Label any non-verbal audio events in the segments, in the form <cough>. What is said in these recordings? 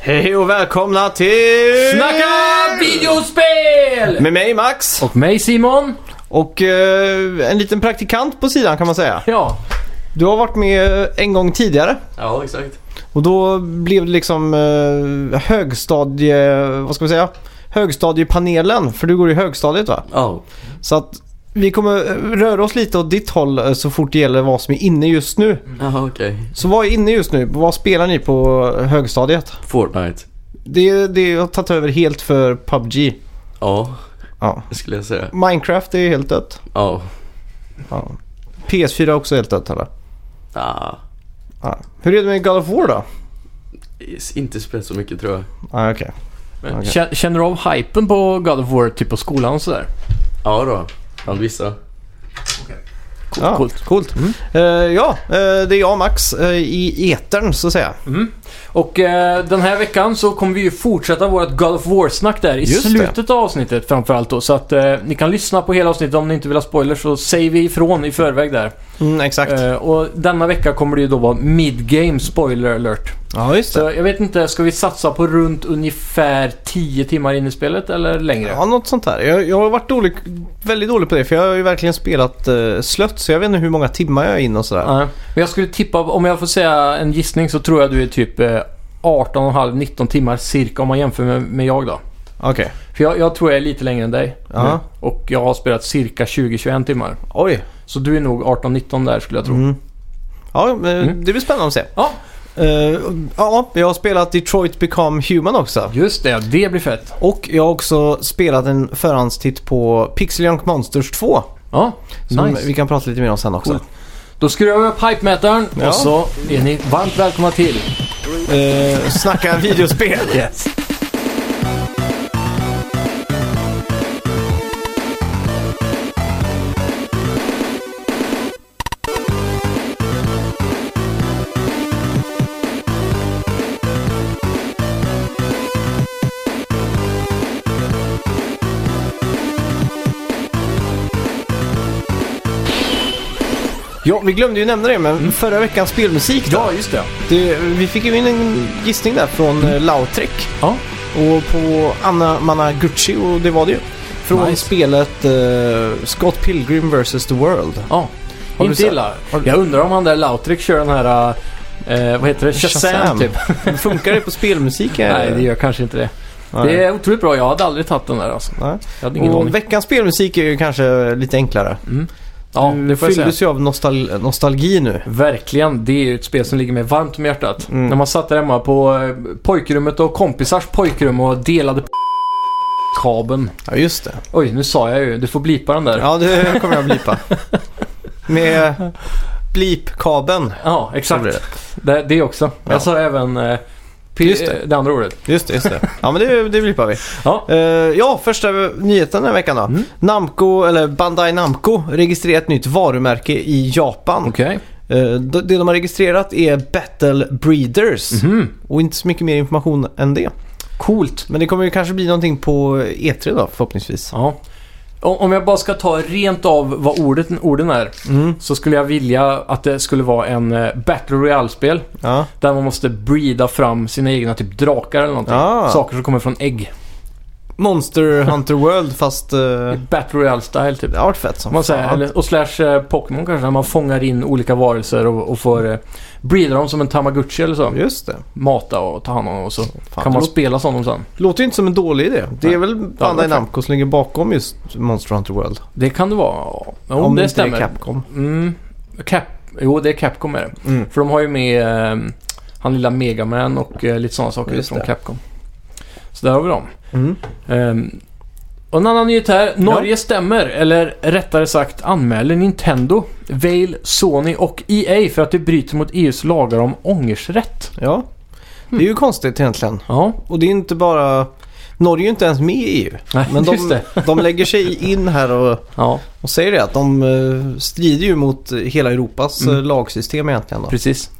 Hej och välkomna till... Snacka Eh. videospel! Med mig Max Och mig Simon. och eh, en liten praktikant på sidan kan man säga. Ja. Du har varit med en gång tidigare Ja, exakt. och då blev det liksom eh, högstadie... Vad ska vi säga? Högstadiepanelen, för du går i högstadiet va? Ja. Så att vi kommer eh, röra oss lite åt ditt håll eh, så fort det gäller vad som är inne just nu. Jaha, okej. Så vad är inne just nu? Vad spelar ni på eh, högstadiet? Fortnite. Det, det har tagit över helt för PubG. Ja, Ja. det skulle jag säga. Minecraft är helt dött. Ja. Ja. PS4 är också helt dött eller? Ah. Ja. Hur är det med God of War då? is- Inte spelat så mycket tror jag. Ah, okej. Men Okej. kä- Känner du av hypen på God of War typ på skolan och sådär? Ja då. Bland vissa. ja, coolt. coolt. Eh, ja, eh, det är jag Max eh, i etern så att säga. Och eh, den här veckan så kommer vi ju fortsätta vårt God of War-snack där i Just det. slutet av avsnittet framförallt då. Så att eh, ni kan lyssna på hela avsnittet om ni inte vill ha spoilers så säger vi ifrån i förväg där. Mm, exakt. Eh, och denna vecka kommer det ju då vara mid-game spoiler alert. ja, just Så det. jag vet inte, ska vi satsa på runt ungefär 10 timmar in i spelet eller längre? Ja, något sånt där. Jag, jag har varit dålig, väldigt dålig på det för jag har ju verkligen spelat eh, slött så jag vet inte hur många timmar jag är in och sådär. Ja. Men jag skulle tippa, om jag får säga en gissning så tror jag du är typ eh, 18,5-19 timmar cirka om man jämför med, med jag då. Okej. För jag, jag tror jag är lite längre än dig. Ja. Mm. Och jag har spelat cirka 20-21 timmar. Oj. Så du är nog 18-19 där skulle jag tro. Mm. Ja, men Mm. det blir spännande att se. Ja. Eh, ja, jag har spelat Detroit Become Human också. Just det, det blir fett. Och jag har också spelat en förhandstitt på Pixel Junk Monsters 2. Ja, Som nice. vi kan prata lite mer om sen också. Coolt. Då skruvar vi upp hypemätaren Ja. och så är ni varmt välkomna till. Eh, <laughs> snacka videospel. Yes. Ja, vi glömde ju nämna det, men Mm. förra veckans spelmusik då, Ja, just det. det, Vi fick ju in en gissning där från mm. Lautrec Ja. och på Anna Managuchi och det var det ju. Från Nice. spelet eh, Scott Pilgrim vs. The World. Ja, Har du inte sett- illa. har du- Jag undrar om han där Lautrec kör den här, eh, vad heter det, Shazam, Shazam. typ. Funkar <laughs> det på spelmusik? eh? <laughs> Nej, det gör kanske inte det. Nej. Det är otroligt bra. Jag hade aldrig tagit den där alltså. Nej. Jag hade ingen aning. Och veckans spelmusik är ju kanske lite enklare. Ja, Du det får jag säga. fylldes ju av nostal- nostalgi nu. Verkligen. Det är ju ett spel som ligger mig varmt om hjärtat. Mm. När man satt där hemma på eh, pojkrummet och kompisars pojkrum och delade p- kabeln. Ja, just det. Oj, nu sa jag ju. Du får blipa den där. Ja, det kommer jag <laughs> blipa. Med blipkabeln. Ja, så blir exakt. det. Det, det också. Ja. Jag sa även eh, p- eh, Just det. det andra ordet. Just det, just det. Ja, men det, det blippar vi. Ja. Eh, ja, första nyheten den här veckan då. Mm. Namco, eller Bandai Namco, registrerar ett nytt varumärke i Japan. Okej. Eh, d- det de har registrerat är Battle Breeders. Mhm. Och inte så mycket mer information än det. Coolt. Men det kommer ju kanske bli någonting på E3 då, förhoppningsvis. Ja. O- Om jag bara ska ta rent av vad ordet, orden är. Mm, Så skulle jag vilja att det skulle vara en eh, Battle Royale-spel. ja. Där man måste breeda fram sina egna typ drakar eller någonting. Ah. Saker som kommer från ägg. Monster Hunter World fast... eh, Battle Royale-style typ. det har varit fett som Om Man säger, fan. eller, och slash eh, Pokémon kanske, när man fångar in olika varelser och, och får eh, breeda dem som en tamagotchi eller så. Just det. Mata och ta hand om dem och så Fan, kan det man lå- spela som dem sen. låter ju inte som en dålig idé. Det är Nej. väl Bandai varit Namco som ligger bakom just Monster Hunter World. Det kan det vara. Ja, Jo, Om det inte stämmer. är Capcom. Mm. Cap... Jo, det är Capcom är det. Mm. För de har ju med eh, han lilla Megaman och eh, lite sådana saker Just från det. Capcom. Så där har vi dem. Mm. Ehm, och en annan nyhet här. Norge stämmer, eller rättare sagt anmäler Nintendo, Vail, Sony och EA för att de bryter mot EUs lagar om ångersrätt. Ja. Det är Mm. ju konstigt egentligen. Ja, Och det är inte bara... Norge är ju inte ens med i EU. nej, Men just de, det. <laughs> de lägger sig in här och, Ja, och säger det att de eh, strider ju mot eh, hela Europas Mm. eh, lagsystem egentligen. Då. precis.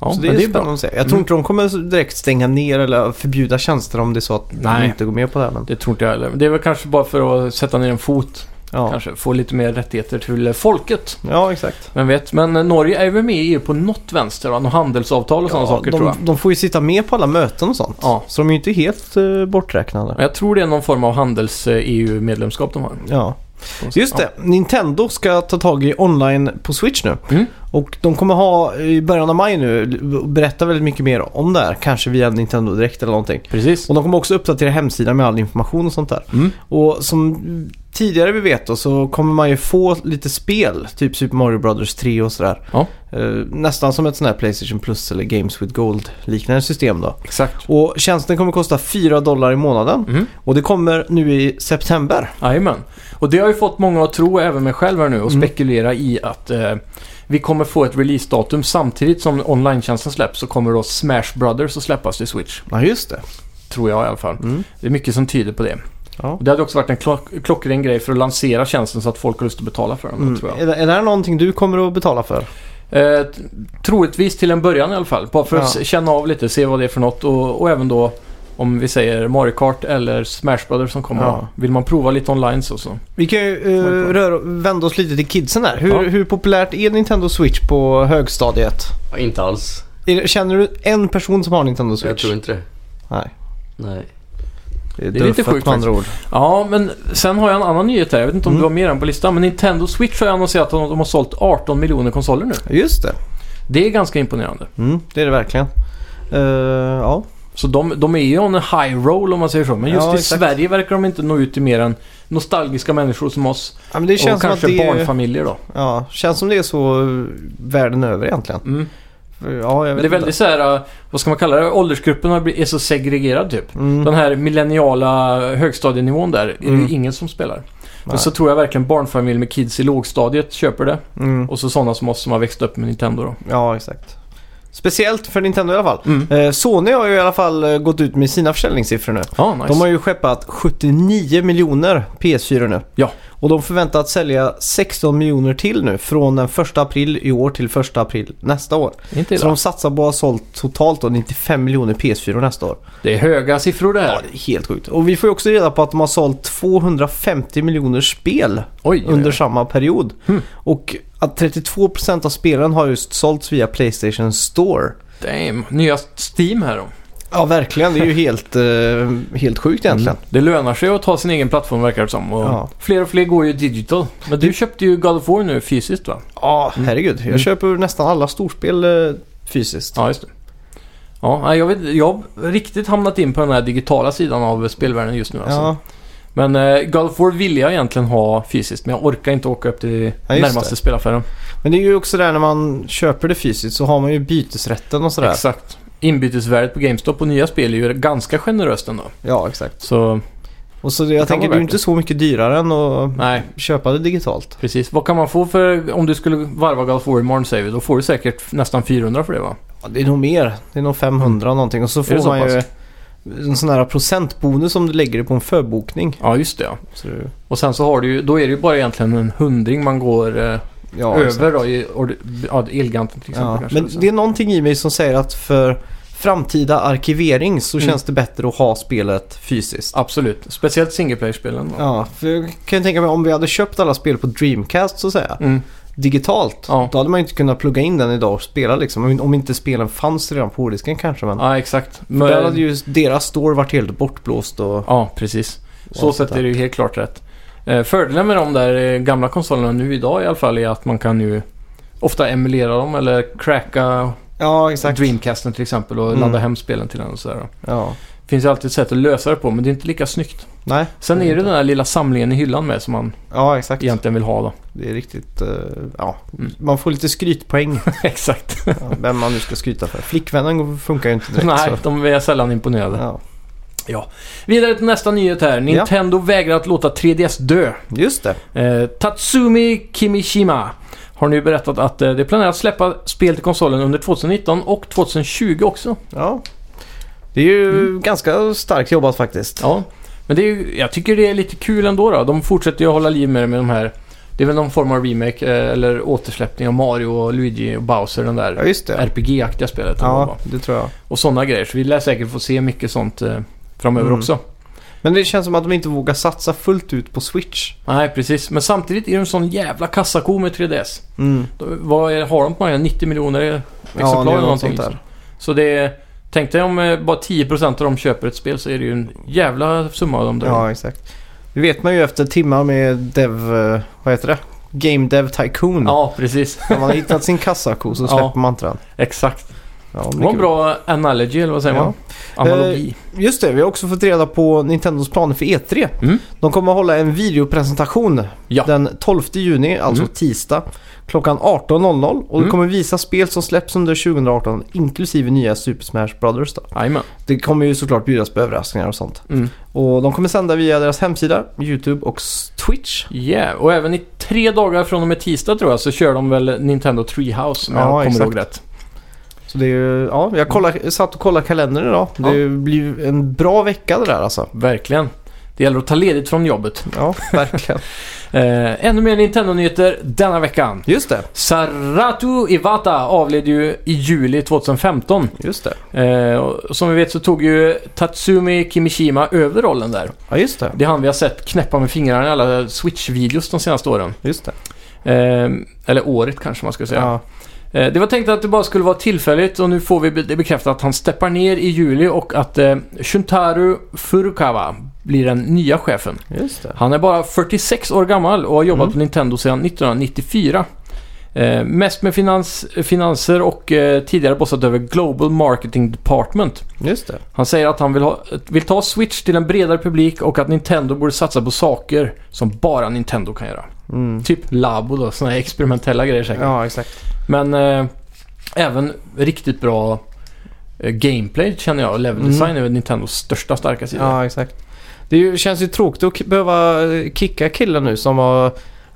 Ja, så det men är, det är spännande bra. Mm. att se. Jag tror inte de kommer direkt stänga ner eller förbjuda tjänster om det är så att Nej. de inte går med på det. här, Men... Det tror inte jag heller. Men det är väl kanske bara för att sätta ner en fot. Ja, Kanske få lite mer rättigheter till folket. ja exakt. Vem vet. Men eh, Norge är ju med i EU på något vänster, va? Något handelsavtal och sådana ja, saker de, tror jag. de får ju sitta med på alla möten och sånt. Ja. Så de är ju inte helt eh, borträknade. Men Jag tror det är någon form av handels-EU-medlemskap de har. Ja. Just Ja. det, Nintendo ska ta tag i online på Switch nu. Mm. Och de kommer ha i början av maj nu, berätta väldigt mycket mer om det här. Kanske via Nintendo direkt eller någonting. Precis. Och de kommer också uppdatera hemsidan med all information och sånt där. Mm. Och som tidigare vi vet då så kommer man ju få lite spel, typ Super Mario Brothers 3 och sådär. Ja. Eh, nästan som ett sånt här Playstation Plus eller Games with Gold liknande system då. Exakt. Och tjänsten kommer kosta 4 dollar i månaden. Mm. Och det kommer nu i september. Jajamän. Och det har ju fått många att tro, även mig själv här nu, och Mm. spekulera i att eh, vi kommer få ett releasedatum samtidigt som online-tjänsten släpps så kommer då Smash Brothers att släppas till Switch. Ja, just det. Tror jag i alla fall. Mm. Det är mycket som tyder på det. Ja. Och det hade också varit en klock- klockren grej för att lansera tjänsten så att folk har lust att betala för den. Mm. Tror jag. Är, det- är det här någonting du kommer att betala för? Eh, t- troligtvis till en början i alla fall. Bara för att Ja. s- känna av lite, se vad det är för något och, och även då om vi säger Mario Kart eller Smash Brothers som kommer. Ja. Vill man prova lite online så så. Vi kan ju eh, Får jag ta? röra, vända oss lite till kidsen här. Hur, Ja. hur populärt är Nintendo Switch på högstadiet? Ja, inte alls. Är det- Känner du en person som har Nintendo Switch? Jag tror inte det. Nej. Nej. Det är, Det är lite duffet sjukt med andra ord. Ja, men sen har jag en annan nyhet här. Jag vet inte om Mm. du har med den på listan. Men Nintendo Switch har ju annonserat att de de har sålt 18 miljoner konsoler nu. Just det. Det är ganska imponerande. Mm, det är det verkligen. Eh, ja. Så de, de är ju on a high roll om man säger så. Men just Ja, i exakt. Sverige verkar de inte nå ut till mer än nostalgiska människor som oss. ja, men det och känns som att kanske det är, barnfamiljer då. ja, känns som det är så eh, världen över egentligen. Mm. För, Ja, jag Men vet det är inte. väldigt så här, eh, vad ska man kalla det? Åldersgruppen har bli- är så segregerad typ. Mm, Den här millenniala högstadienivån där är det ju Mm. ingen som spelar. Men nej. så tror jag verkligen barnfamiljer med kids i lågstadiet köper det. mm, Och så sådana som oss som har växt upp med Nintendo då. ja, exakt. Speciellt för Nintendo i alla fall. Mm. Eh, Sony har ju i alla fall eh, gått ut med sina försäljningssiffror nu. Ja, nice. De har ju skeppat 79 miljoner PS4 nu. Ja. Och de förväntar att sälja 16 miljoner till nu från den 1 april i år till 1 april nästa år. Inte Så de satsar på att ha sålt totalt då 95 miljoner PS4 nästa år. Det är höga siffror det här. Ja, det är helt sjukt. Och vi får ju också reda på att de har sålt 250 miljoner spel Oj, under under... samma period. Hmm. Och att 32% av spelen har just sålts via Playstation Store. damn. Nya Steam här då. Ja, verkligen. Det är ju helt, eh, helt sjukt egentligen. Mm. Det lönar sig att ta sin egen plattform verkar det som. Och Ja. Fler och fler går ju digital. Men du köpte ju God of War nu fysiskt va? Ja, herregud. Jag Mm. köper nästan alla storspel eh, fysiskt. Ja, just det. Ja, nej, jag, vet, jag har riktigt hamnat in på den här digitala sidan av spelvärlden just nu alltså. Ja, Men eh, God of War vill jag egentligen ha fysiskt, men jag orkar inte åka upp till Ja, just närmaste det. spelaffären. men det är ju också där när man köper det fysiskt så har man ju bytesrätten och sådär. Exakt. Inbytesvärdet på GameStop och nya spel är ju ganska generöst ändå. Ja, exakt. Så Och så det, jag Det kan tänker, det vara är ju värt det. inte så mycket dyrare än att nej, köpa det digitalt. precis. Vad kan man få för, om du skulle varva God of War imorgon säger vi, då får du säkert nästan 400 för det va? Ja, det är nog mer. Det är nog 500 någonting. Och så Mm. det får så man ju pass? en sån här procentbonus om du lägger det på en förbokning. Ja, just det ja. Så det, Och sen så har du ju, då är det ju bara egentligen en hundring man går eh, ja, exakt. över då i ord- ja, Elganten till exempel. Ja, kanske, men eller så. det är någonting i mig som säger att för framtida arkivering så Mm. känns det bättre att ha spelet fysiskt. Absolut. Speciellt singleplayer-spelen. va? Ja, för jag kan ju tänka mig om vi hade köpt alla spel på Dreamcast så att säga, Mm. digitalt. Ja. Då hade man ju inte kunnat plugga in den idag och spela liksom. Om- Om inte spelen fanns redan på hårddisken kanske. Men ja, exakt. men... där Men- hade ju deras store varit helt bortblåst och... Ja, precis. Så och sätt sånt är det ju helt klart rätt. Eh, Fördelen med de där eh, gamla konsolerna nu idag i alla fall är att man kan ju ofta emulera dem eller cracka där. Ja, exakt. Dreamcasten till exempel och Mm. ladda hem spelen till den och sådär. Ja. Finns ju alltid ett sätt att lösa det på men det är inte lika snyggt. Nej, Sen Det är är det inte. den där lilla samlingen i hyllan med som man ja exakt. egentligen vill <laughs> ha då. Det är riktigt, eh, ja. Mm. Man får lite <laughs> skrytpoäng. Exakt. ja, vem man nu ska skryta för. Flickvännen funkar ju inte direkt. Nej, så. de är sällan imponerade. Ja. Vidare till nästa nyhet här. Nintendo vägrar att låta 3DS dö. Just det. Eh, Tatsumi Kimishima har nu berättat att eh, det planerar att släppa spel till konsolen under 2019 och 2020 också. Ja. Det är ju ganska starkt jobbat faktiskt. Mm. Ja. Men det är ju, jag tycker det är lite kul ändå då. De fortsätter ju att hålla liv med det med de här. Det är väl någon form av remake eh, eller återsläppning av Mario och Luigi och Bowser. Den Ja, där just det. RPG-aktiga spelet. eller vad det Ja, var. det tror jag. Och sådana grejer. Så vi lär säkert få se mycket sånt eh, framöver Mm. också. Men det känns som att de inte vågar satsa fullt ut på Switch. Nej, precis. Men samtidigt är de en sån jävla kassako med 3DS. Mm. Då- Vad är, har de på marknaden? 90 miljoner det exemplar är eller något någonting. sånt där. Liksom. Så det är... Tänk dig om eh, bara 10% av dem köper ett spel så är det ju en jävla summa av dem där. Ja, exakt. Det vet man ju efter timmar med Dev... eh, Vad heter det? Game Dev Tycoon. ja precis. När man har hittat sin kassako så <laughs> Ja. släpper man inte den. Exakt. Ja, Det var en mycket bra analogy, eller vad säger Ja. Eh. man? Analogi. Just det, vi har också fått reda på Nintendos planer för E3. Mm. De kommer att hålla en videopresentation Ja. den 12 juni, alltså Mm. tisdag, klockan 18.00. Och Mm. det kommer visa spel som släpps under 2018, inklusive nya Super Smash Brothers. Då. Jajamän. Det kommer ju såklart bjudas på överraskningar och sånt. Mm. Och de kommer sända via deras hemsida, YouTube och s- Twitch. Yeah. Och även i tre dagar från och med tisdag tror jag så kör de väl Nintendo Treehouse om Ja, jag kommer exakt. ihåg rätt. Så det är ju, ja, jag kollar, satt och kollade kalendern idag. Det blir en bra vecka det där alltså. Verkligen. Det gäller att ta ledigt från jobbet. <laughs> Ja, verkligen. Eh, ännu mer Nintendo-nyheter denna veckan. Just det, Saratu Iwata avled ju i juli 2015. just det. Eh, och som vi vet så tog ju Tatsumi Kimishima över rollen där. Ja, just det. Det är han vi har sett knäppa med fingrarna i alla Switch-videos de senaste åren. Just det. Eh, eller året kanske man ska säga. Ja. Eh, det var tänkt att det bara skulle vara tillfälligt och nu får vi be- det bekräftat att han steppar ner i juli och att eh, Shuntaru Furukawa blir den nya chefen. Just det. Han är bara 46 år gammal och har jobbat Mm. på Nintendo sedan 1994. Eh, mest med finans, finanser och eh, tidigare bossat över Global Marketing Department. Just det. Han säger att han vill, ha, vill ta Switch till en bredare publik och att Nintendo borde satsa på saker som bara Nintendo kan göra. Mm. Typ Labo då, sådana här experimentella grejer säkert. Ja, exakt. Men eh, även riktigt bra eh, gameplay känner jag. Level Mm. design är väl Nintendos största starka sida. Ja, exakt. Det är ju, känns ju tråkigt att k- behöva eh, kicka killen nu som har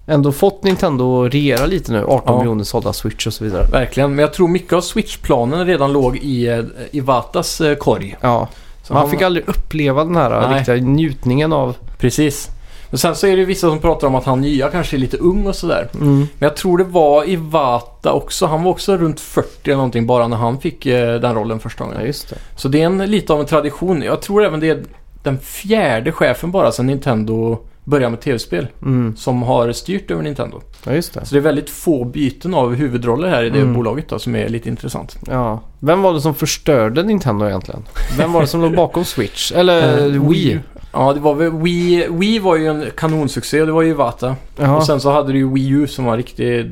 ändå fått Nintendo att regera lite nu. 18 Ja. miljoner sålda Switch och så vidare. Verkligen, men jag tror mycket av Switch-planen redan låg i eh, Iwatas eh, korg. Ja, Så man han- fick aldrig uppleva den här Nej. riktiga njutningen av... Precis. Men sen så är det ju vissa som pratar om att han nya kanske är lite ung och sådär. Men jag tror det var Iwata också. Han var också runt 40 eller någonting bara när han fick eh, den rollen första Ja, gången. just det. Så det är en, lite av en tradition. Jag tror även det är den fjärde chefen bara sedan Nintendo började med tv-spel Mm. som har styrt över Nintendo. Ja, just det. Så det är väldigt få byten av huvudroller här i det Mm. bolaget då, som är lite intressant. Ja. Vem var det som förstörde Nintendo egentligen? Vem var det som låg bakom Switch? Eller Eh, Wii? Ja, det var väl Wii. Wii var ju en kanonsuccé och det var ju Iwata. Ja. Och sen så hade du ju Wii U som var en riktig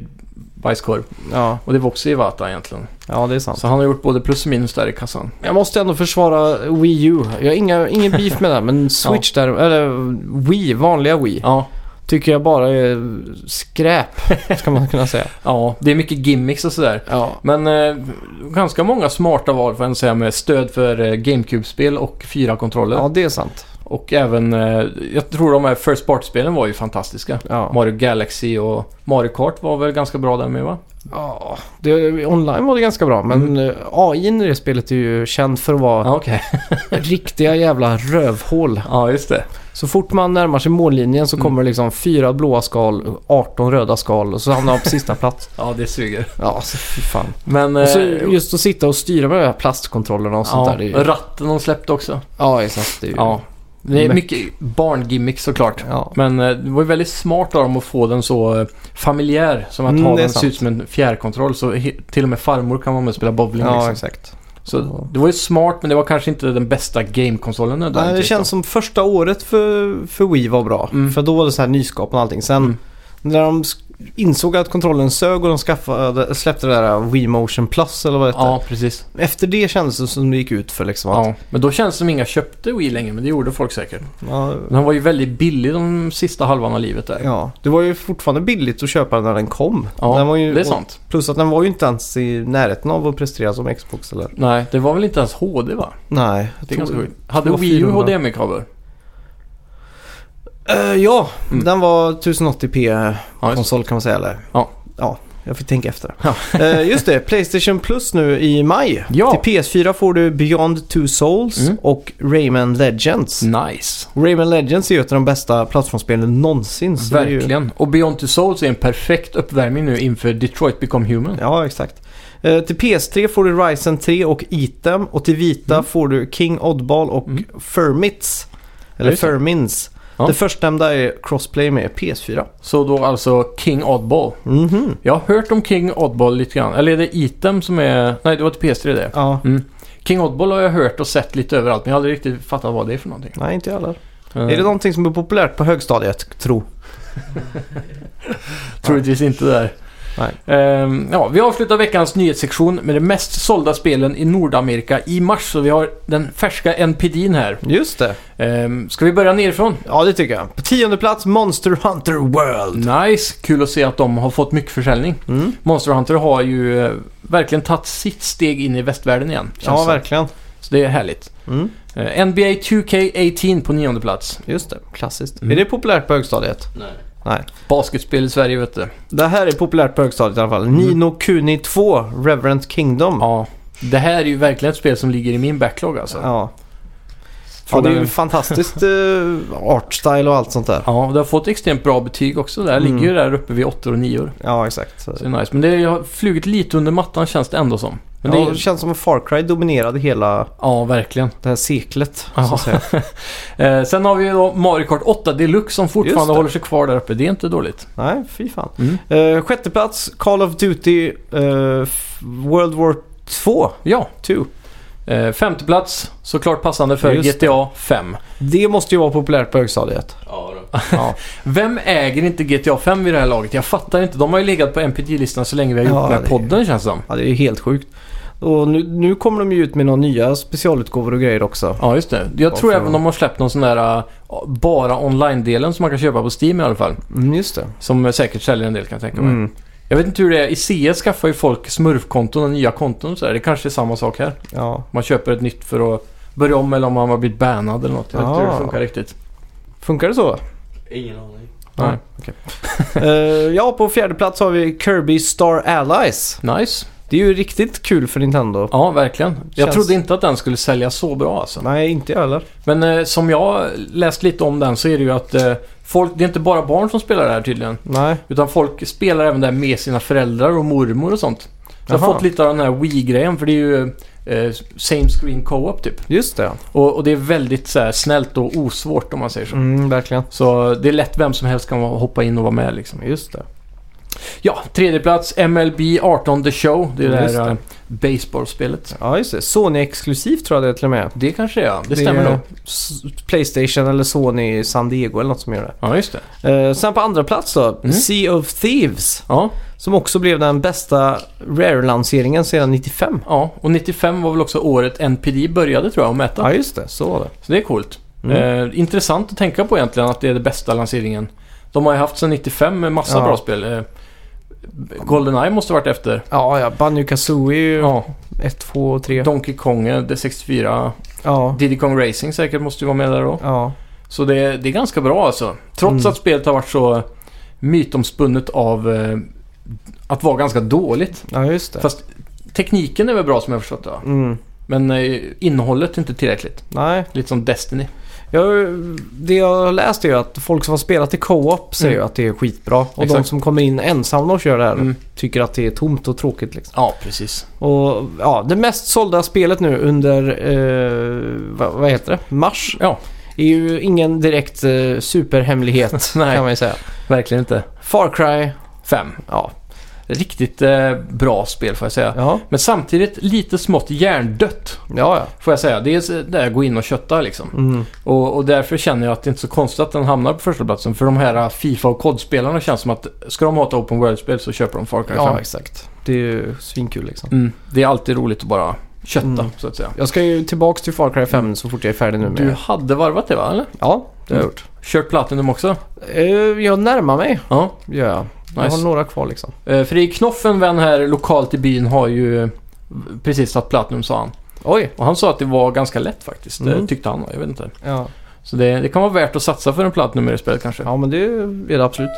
bajskorv. Ja. Och det var också Iwata egentligen. ja, det är sant. Så han har gjort både plus och minus där i kassan. Jag måste ändå försvara Wii U. Jag har inga, ingen beef med den, men Switch där, eller Wii, vanliga Wii, Ja, tycker jag bara är skräp, ska man kunna säga. ja det är mycket gimmicks och sådär. <laughs> Ja, Men eh, ganska många smarta val får jag ändå säga med stöd för eh, GameCube-spel och fyra kontroller. ja det är sant. Och även, eh, jag tror de här First Part-spelen var ju fantastiska. Ja. Mario Galaxy och Mario Kart var väl ganska bra där med va? ja det, online var det ganska bra, men mm. AI i det spelet är ju känd för att vara Ja, okej. riktiga jävla rövhål. Ja, just det. Så fort man närmar sig mållinjen så Mm. kommer det liksom fyra blåa skal, 18 röda skal och så hamnar man på sista plats. Ja, det suger. <laughs> Ja, så fy fan. Men... Och så eh, just att sitta och styra med de här plastkontrollerna och sånt ja, där. Det är ju, ratten de släppte också. ja, exakt. Det är ju, Ja. Det är Men- mycket barngimmick såklart. Ja. Men eh, det var ju väldigt smart av dem att få den så eh, familjär. Som att Mm, ha det är den sant. ser ut som en fjärrkontroll. Så he- till och med farmor kan vara med och spela bowling. Ja, liksom. exakt. Så det var ju smart men det var kanske inte den bästa gamekonsolen Nej, det nödvändigtvis. känns som första året för, för Wii var bra. Mm. För då var det så här nyskapande och allting. Sen Mm. när de sk- insåg att kontrollen sög och de skaffade, släppte det där Wii Motion Plus eller vad det hette. Ja, precis. Efter det kändes det som det gick ut för liksom att... Ja, men då känns det som inga köpte Wii längre, men det gjorde folk säkert. Ja. Men han var ju väldigt billig de sista halvan av livet där. ja. Det var ju fortfarande billigt att köpa den när den kom. Ja, den var ju, det är sant. Plus att den var ju inte ens i närheten av att prestera som Xbox eller... Nej, det var väl inte ens HD va? Nej. jag Det är tror- ganska sjukt. Hade tror Wii U 400. HDMI-kabel? Eh, ja, Mm. den var 1080p Ja, just. konsol kan man säga eller? Ja. Ja, jag fick tänka efter. <laughs> Eh, just det, Playstation Plus nu i maj. Ja. Till PS4 får du Beyond Two Souls Mm. och Rayman Legends. Nice. Rayman Legends är ju ett av de bästa plattformsspelen någonsin. så det är ju- Verkligen. Och Beyond Two Souls är en perfekt uppvärmning nu inför Detroit Become Human. Ja, exakt. Eh, till PS3 får du Ryzen 3 och Item och till Vita Mm. får du King Oddball och Mm. Fermits. Eller just det. Firmins. Ja. Det förstnämnda är Crossplay med PS4. Så då alltså King Oddball. Mhm. Jag har hört om King Oddball lite grann. Eller är det Item som är... Nej, det var till PS3 det. Ja. King Oddball har jag hört och sett lite överallt men jag har aldrig riktigt fattat vad det är för någonting. Nej, inte jag heller. Är det någonting som är populärt på högstadiet, tro? Eh, Troligtvis inte där. Nej. Ehm, ja, vi avslutar veckans nyhetssektion med de mest sålda spelen i Nordamerika i mars. Så vi har den färska NPDn här. Just det. Um, ska vi börja nerifrån? Ja, det tycker jag. På tionde plats Monster Hunter World. Nice! Kul att se att de har fått mycket försäljning. Mm. Monster Hunter har ju eh, verkligen tagit sitt steg in i västvärlden igen. känns Ja, det. verkligen. Så det är härligt. Mm. Eh, NBA 2K18 på nionde plats. Just det, klassiskt. Mm. Är det populärt på högstadiet? Nej. Basketspel i Sverige vet du. Det här är populärt på högstadiet i alla fall. Nino Kuni 2, Reverend Kingdom. Ja. Det här är ju verkligen ett spel som ligger i min backlog alltså. Ja. Ja, Från det är ju en- fantastiskt eh, artstyle och allt sånt där. Ja, det har fått extremt bra betyg också. Det här Mm. ligger ju där uppe vid 8 och 9 Ja, exakt. Så det är nice. Men det har flugit lite under mattan känns det ändå som. Men ja, det det är... känns som att Far Cry dominerade hela ja, verkligen. det här seklet. Ja. Så att <laughs> säga. Eh, sen har vi ju då Mario Kart 8 Deluxe som Just fortfarande det. håller sig kvar där uppe. Det är inte dåligt. Nej, fy fan. Mm. Eh, sjätte plats, Call of Duty eh, f- World War 2. Ja, 2. eh, femte plats såklart passande för Just det. GTA 5. Det måste ju vara populärt på högstadiet. Ja då. Ja, Vem äger inte GTA 5 vid det här laget? Jag fattar inte. De har ju legat på MPG-listan så länge vi har gjort Ja, den här det- podden känns det som. ja det är ju helt sjukt. Och nu, nu kommer de ju ut med några nya specialutgåvor och grejer också. Ja, just det. Jag tror Varför även då? de har släppt någon sån där eh, bara online-delen som man kan köpa på Steam i alla fall. Mm, just det. Som säkert säljer en del kan jag tänka mig. Mm. Jag vet inte hur det är. I CS skaffar ju folk smurfkonton och nya konton och sådär. Det kanske är samma sak här. Ja, Man köper ett nytt för att börja om eller om man har blivit bannad eller något. Jag vet inte hur det Ah. funkar riktigt. funkar det <laughs> så? Ingen aning. Nej. Eh, ja, på fjärde plats har vi Kirby Star Allies. Nice. Det är ju riktigt kul för Nintendo. Ja, verkligen. Jag Känns- trodde inte att den skulle sälja så bra alltså. Nej, inte jag heller. Men eh, som jag läst lite om den så är det ju att eh, folk, det är inte bara barn som spelar det här tydligen. Nej. Utan folk spelar även det här med sina föräldrar och mormor och sånt. Så jag har Jaha. fått lite av den här Wii-grejen för det är ju eh, same screen co-op typ. Just det. Och, och det är väldigt så här, snällt och osvårt om man säger så. Mm, verkligen. Så det är lätt vem som helst kan vara- hoppa in och vara med liksom. Just det. Ja, tredje plats MLB 18 The Show. Det är det Just här det. eh, baseballspelet. Ja, just det. Sony-exklusivt tror jag det är till och med. Det kanske det är, ja. Det stämmer är nog. S- Playstation eller Sony San Diego eller något som gör Ja, just det. det. Eh, sen på andra plats då, Mm. Sea of Thieves. Ja, Som också blev den bästa Rare-lanseringen sedan 95. ja, och 95 var väl också året NPD började tror jag att mäta. Ja, just det. Så var det. Så det är coolt. Mm. Eh, intressant att tänka på egentligen att det är den bästa lanseringen. De har ju haft sedan 95 med massa Ja. bra spel. Eh, Goldeneye måste ha varit efter. Ja, ja. Banjo Kazooie Ja, 1, 2, 3. Donkey Kong, eh, D64, Ja. Diddy Kong Racing säkert måste ju vara med där då. Ja. Så det, det är ganska bra alltså. Trots Mm. att spelet har varit så mytomspunnet av eh, att vara ganska dåligt. ja, just det. Fast tekniken är väl bra som jag förstått det va? Mm. Men eh, innehållet är inte tillräckligt. Nej. Lite som Destiny. Jag, det jag har läst är ju att folk som har spelat i co-op säger ju Mm. att det är skitbra. Och de Exakt. som kommer in ensamma och kör det här Mm. tycker att det är tomt och tråkigt liksom. Ja, precis. Och ja, det mest sålda spelet nu under, eh, vad, vad heter det, mars. Ja. Är ju ingen direkt eh, superhemlighet <laughs> Nej. kan man ju säga. Verkligen inte. Far Cry, Fem. ja. Riktigt eh, bra spel får jag säga. Ja, Men samtidigt lite smått hjärndött ja. ja. får jag säga. Det är så- där jag går in och köttar liksom. Mm. Och, och därför känner jag att det inte är så konstigt att den hamnar på första platsen För de här eh, Fifa och COD-spelarna känns som att ska de ha ett Open World-spel så köper de Far Cry 5. ja exakt. Det är ju svinkul liksom. Mm, det är alltid roligt att bara kötta Mm. så att säga. Jag ska ju tillbaks till Far Cry 5 så fort jag är färdig nu med... Mm. Du hade varvat det va? Eller? Ja, det har jag Mm. gjort. Kört Platinum också? Eh, jag närmar mig, Ja. gör jag. Jag Nice. har några kvar liksom. Eh, Fredrik Knoff, en vän här lokalt i byn, har ju eh, precis tagit Platinum sa han. Oj! Och han sa att det var ganska lätt faktiskt. Det Mm. tyckte han. Jag vet inte. Ja, Så det, det kan vara värt att satsa för en Platinum i det spelet kanske. ja men det är det absolut.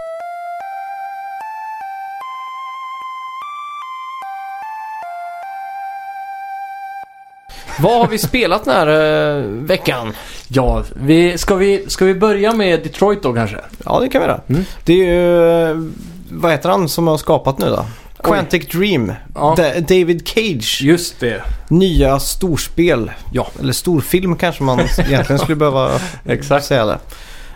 Vad har vi spelat den här eh, veckan? Ja, vi, ska, vi, ska vi börja med Detroit då kanske? Ja, det kan vi göra. Mm. Det är ju... eh, Vad heter han som har skapat nu då? Quantic Dream. Ja. Da- David Cage. Just det. Nya storspel. Ja. Eller storfilm kanske man egentligen skulle <laughs> behöva Exakt. säga det.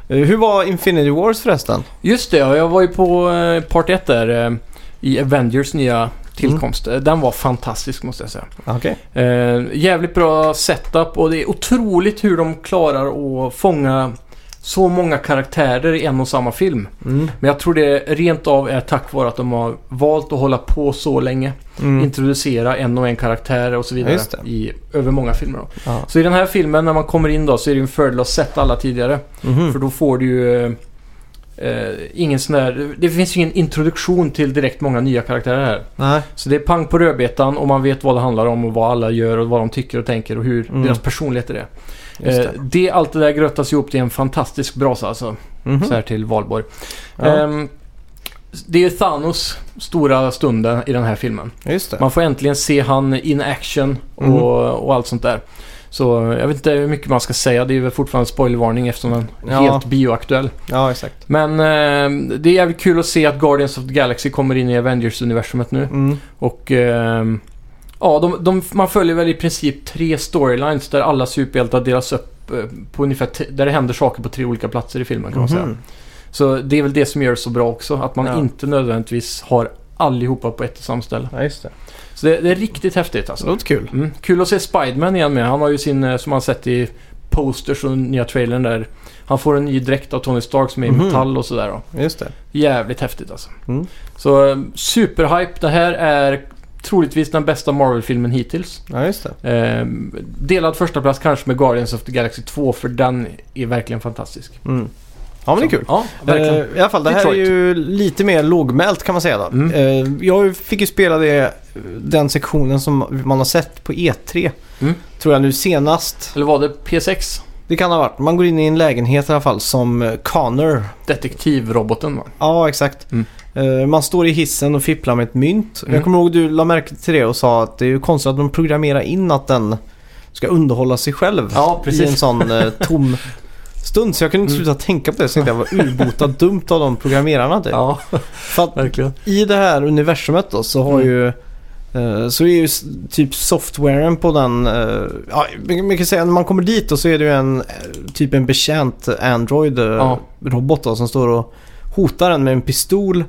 Eh, Hur var Infinity Wars förresten? Just det, ja, jag var ju på eh, Part 1 där eh, i Avengers nya tillkomst. Mm. Eh, Den var fantastisk måste jag säga. Okej. Eh, jävligt bra setup och det är otroligt hur de klarar att fånga så många karaktärer i en och samma film. Mm. Men jag tror det rent av är tack vare att de har valt att hålla på så länge. Mm. Introducera en och en karaktär och så vidare Just det. i, över många filmer. Då. Ja. Så i den här filmen när man kommer in då så är det ju en fördel att ha sett alla tidigare. Mhm. För då får du ju eh, eh, ingen sån där... Det finns ju ingen introduktion till direkt många nya karaktärer här. Nej. Så det är pang på rödbetan och man vet vad det handlar om och vad alla gör och vad de tycker och tänker och hur Mm. deras personligheter är. Just Eh, det. det, allt det där grötas ihop till en fantastisk brasa alltså. Mhm. Så här till valborg. Ja, Ehm, det är Thanos stora stunden i den här filmen. just det. Eh, Man får äntligen se han in action och, Mm. och allt sånt där. Så eh, jag vet inte hur mycket man ska säga. Det är väl fortfarande spoilervarning eftersom den är Ja. helt bioaktuell. Ja, exakt. Men eh, det är jävligt kul att se att Guardians of the Galaxy kommer in i Avengers-universumet nu. Mm. Och ehm, ja, de, de, man följer väl i princip tre storylines där alla superhjältar delas upp eh, på ungefär t- där det händer saker på tre olika platser i filmen kan man säga. Mhm. Så det är väl det som gör det så bra också. Att man Ja. inte nödvändigtvis har allihopa på ett och samma ställe. Ja, just det. Så det, det är riktigt häftigt alltså. Så det låter kul. Mm. Kul att se Spiderman igen med. Han har ju sin, eh, som man sett i posters och nya trailern där. Han får en ny dräkt av Tony Stark som är i Mhm. metall och sådär. Då. Just det. Jävligt häftigt alltså. Mm. Så eh, superhype. Det här är troligtvis den bästa Marvel-filmen hittills. Ja, just det. Eh, delad första plats kanske med Guardians of the Galaxy 2 för den är verkligen fantastisk. Mm. Ja, men det är kul. Ja, verkligen. Eh, I alla fall, det här Detroit. är ju lite mer lågmält kan man säga då. Mm. Eh, jag fick ju spela det, den sektionen som man har sett på E3. Mm. Tror jag nu senast. Eller var det P6? Det kan ha varit. Man går in i en lägenhet i alla fall som eh, Connor. Detektivroboten va? Ja, exakt. Mm. Eh, man står i hissen och fipplar med ett mynt. Mm. Jag kommer ihåg du la märke till det och sa att det är ju konstigt att de programmerar in att den ska underhålla sig själv. Ja, I precis. en sån <laughs> eh, tom stund. Så jag kunde inte Mm. sluta tänka på det. Så jag tänkte jag var urbota dumt av de programmerarna. Typ. Ja, För att verkligen. i det här universumet då så har Mm. ju eh, så är ju s- typ softwaren på den, eh, ja, man man kan säga när man kommer dit då så är det ju en eh, typ en betjänt Ja. Android-robot då som står och hotar en med en pistol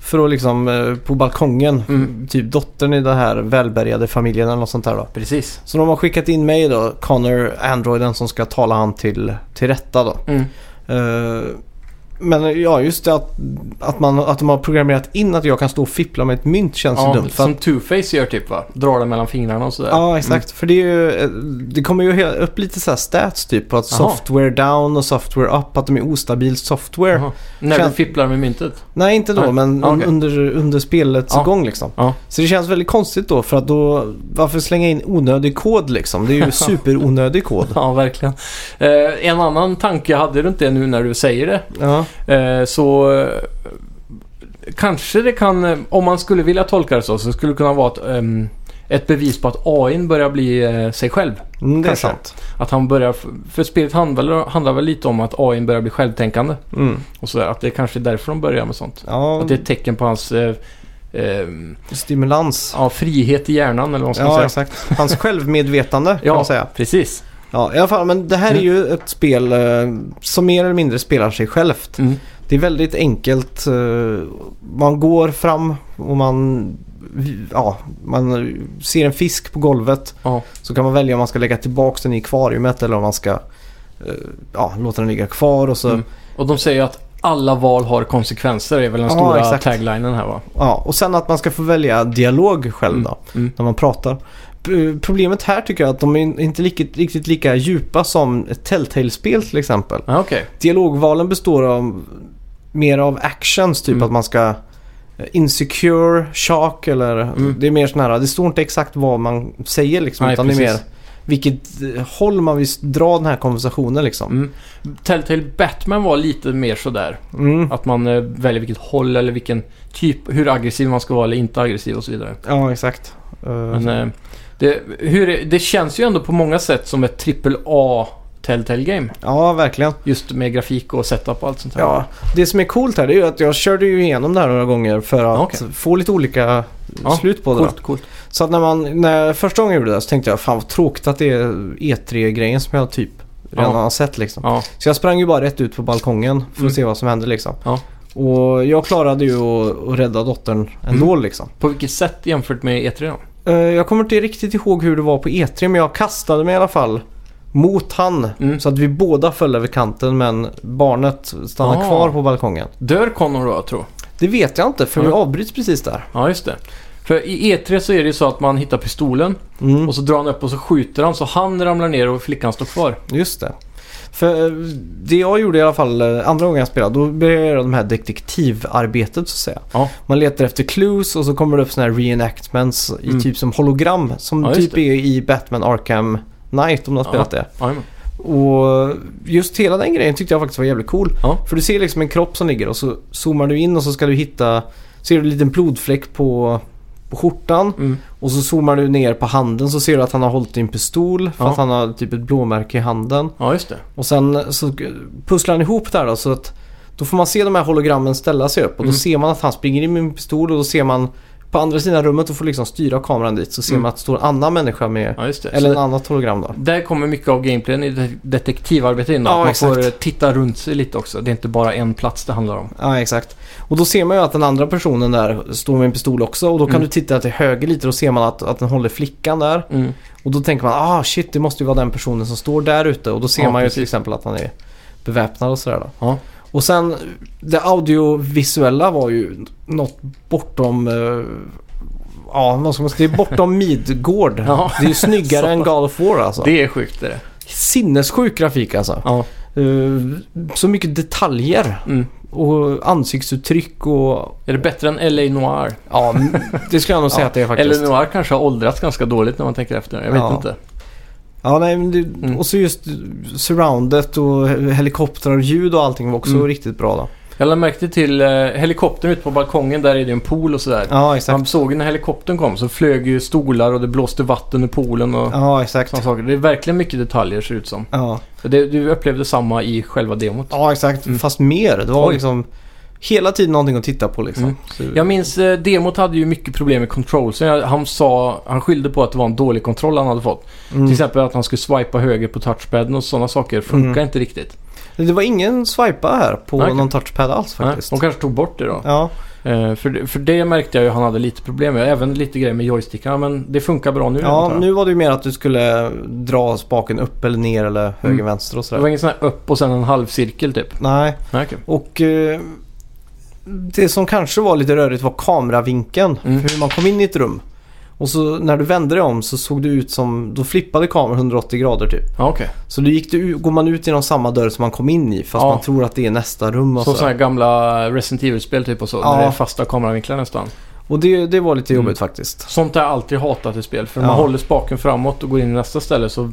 för att liksom eh, på balkongen, Mm. typ dottern i den här välbärgade familjen eller något sånt där då. Precis. Så de har skickat in mig då, Connor, Androiden som ska tala han till, till rätta då. Mm. Eh, men ja, just det att, att, man, att de har programmerat in att jag kan stå och fippla med ett mynt känns ju Ja, dumt. För som Mm. att, Two-Face gör typ va? Drar den mellan fingrarna och sådär. ja, exakt. För det, är ju, eh, det kommer ju he- upp lite så här stats typ på att Jaha. software down och software up, att de är ostabil software. Jaha. När Kän- du fipplar med myntet. Nej, inte då, Nej. men Ja, okej. under, under spelets Ja. gång liksom. Ja. Så det känns väldigt konstigt då, för att då, varför slänga in onödig kod liksom? Det <laughs> är ju superonödig kod. Ja, verkligen. Eh, en annan tanke, jag hade du inte det nu när du säger det? Ja, Eh, så eh, kanske det kan, eh, om man skulle vilja tolka det så, så skulle det kunna vara ett, ehm, ett bevis på att AIn börjar bli eh, sig själv. mm, det är Kanske. sant. Att han börjar, för spelet handlar, handlar väl lite om att AIn börjar bli självtänkande. Mm. Och sådär, att det kanske är därför de börjar med sånt. Ja, Att det är ett tecken på hans eh, ehm, stimulans. ja, frihet i hjärnan eller vad man ska Ja, säga. exakt. Hans självmedvetande kan <laughs> Ja. man säga. Precis. Ja, i alla fall. Men det här Mm. är ju ett spel eh, som mer eller mindre spelar sig självt. Mm. Det är väldigt enkelt. eh, man går fram och man, ja, man ser en fisk på golvet. Ja. Så kan man välja om man ska lägga tillbaka den i akvariet eller om man ska eh, ja, låta den ligga kvar. Och så, Mm. Och de säger ju att alla val har konsekvenser är väl den Ja, stora exakt. taglinen här va? ja, och sen att man ska få välja dialog själv Mm. då, Mm. när man pratar. P- Problemet här tycker jag är att de är inte riktigt, riktigt lika djupa som ett Telltale-spel till exempel. Ja, okej. Dialogvalen består av mer av actions, typ Mm. att man ska eh, insecure, shock eller Mm. det är mer sån här, det står inte exakt vad man säger liksom Nej, utan det är mer precis. vilket eh, håll man vill dra den här konversationen liksom. Mm. Telltale Batman var lite mer sådär. Mm. Att man eh, väljer vilket håll eller vilken typ, hur aggressiv man ska vara eller inte aggressiv och så vidare. Ja, exakt. Eh, Men eh, det, hur, är- det känns ju ändå på många sätt som ett trippel A Telltale Game. Ja, verkligen. Just med grafik och setup och allt sånt där. Ja, det som är coolt här det är ju att jag körde ju igenom det här några gånger för att Okej. få lite olika Ja, slut på det. Coolt, coolt. Så att när man, när jag första gången gjorde det så tänkte jag fan vad tråkigt att det är E3-grejen som jag typ redan Ja. har sett liksom. Ja, Så jag sprang ju bara rätt ut på balkongen för att Mm. se vad som hände liksom. Ja. Och jag klarade ju att, att rädda dottern ändå Mm. liksom. på vilket sätt jämfört med E3 då? Eh, Jag kommer inte riktigt ihåg hur det var på E3 men jag kastade mig i alla fall mot han. Mm. Så att vi båda föll över kanten men barnet stannade Ah. kvar på balkongen. Dör Connor då, jag tror. Det vet jag inte för vi Ja. avbryts precis där. Ja, just det. För i E3 så är det ju så att man hittar pistolen Mm. och så drar han upp och så skjuter han så han ramlar ner och flickan står kvar. Just det. För eh, det jag gjorde i alla fall eh, andra gången jag spelade, då började jag göra de här detektivarbetet så att säga. Ja. Man letar efter clues och så kommer det upp sådana här reenactments i Mm. typ som hologram. Som Ja, just typ det. är i Batman Arkham Knight om du har spelat det. Jajamän. Och just hela den grejen tyckte jag faktiskt var jävligt cool. Ja. För du ser liksom en kropp som ligger och så zoomar du in och så ska du hitta, ser du en liten blodfläck på, på skjortan. Mm. Och så zoomar du ner på handen så ser du att han har hållit i en pistol för Ja. att han har typ ett blåmärke i handen. ja, just det. Och sen så pusslar han ihop det här då så att då får man se de här hologrammen ställa sig upp och då Mm. ser man att han springer in med en pistol och då ser man på andra sidan rummet och får liksom styra kameran dit så ser Mm. man att det står en annan människa med Ja, just det. eller Så en annat hologram då. Där kommer mycket av gameplayen i det- detektivarbetet in. då. Ja, Att man exakt. får eh, titta runt sig lite också. Det är inte bara en plats det handlar om. Ja exakt. Och då ser man ju att den andra personen där står med en pistol också och då kan Mm. du titta till höger lite och då ser man att, att den håller flickan där. Mm. Och då tänker man ah shit det måste ju vara den personen som står där ute och då ser Ja, man ju till precis. exempel att han är beväpnad och sådär då. Ja. Och sen det audiovisuella var ju något bortom... eh, ja, vad ska man säga? Det är bortom <laughs> Midgård. Ja. Det är ju <laughs> snyggare än God of War alltså. Det är sjukt det är det. Sinnessjuk grafik alltså. Ja. Eh, så mycket detaljer Mm. och ansiktsuttryck och... Är det bättre än LA Noir? Ja, m- det skulle jag nog säga att det är faktiskt. LA Noir kanske har åldrats ganska dåligt när man tänker efter. Jag vet Ja. inte. Ja, nej, men det, Mm. och så just surroundet och he- helikoptrar och ljud och allting var också Mm. riktigt bra då. Jag lade märke till eh, helikoptern ute på balkongen. Där är det ju en pool och sådär. Ja, exakt. Man såg ju när helikoptern kom så flög ju stolar och det blåste vatten ur poolen och Ja, exakt. sådana saker. Det är verkligen mycket detaljer ser det ut som. Ja. Och Det, du upplevde samma i själva demot. Ja, exakt. Mm. Fast mer. Det var Oj. liksom hela tiden någonting att titta på liksom. Mm. Så, Jag minns eh, demot hade ju mycket problem med controlsen. Jag- Han sa, han skyllde på att det var en dålig kontroll han hade fått. mm. Till exempel att han skulle swipa höger på touchpaden och sådana saker funkar Mm. inte riktigt. Det var ingen swipa här på Nej, okej. någon touchpad alls faktiskt. Nej, de kanske tog bort det då. Ja, Eh, för, det- för det märkte jag ju han hade lite problem med. Även lite grejer med joystickarna men det funkar bra nu. antar ja jag. nu var det ju mer att du skulle dra spaken upp eller ner eller höger Mm. vänster och Det var sådär. ingen sån här upp och sen en halvcirkel typ. Nej, Nej, okej. och eh, det som kanske var lite rörigt var kameravinkeln. Mm. För hur man kom in i ett rum. Och så när du vände dig om så såg du ut som, då flippade kameran 180 grader typ. Ja, okej. Så då gick du, går man ut genom samma dörr som man kom in i fast Ja. man tror att det är nästa rum och Som så. sådana här gamla Resident Evil-spel typ och så. Ja. När det är fasta kameravinklar nästan. Och det, det var lite Mm. jobbigt faktiskt. Sånt har jag alltid hatat i spel. För Ja. man håller spaken framåt och går in i nästa ställe så,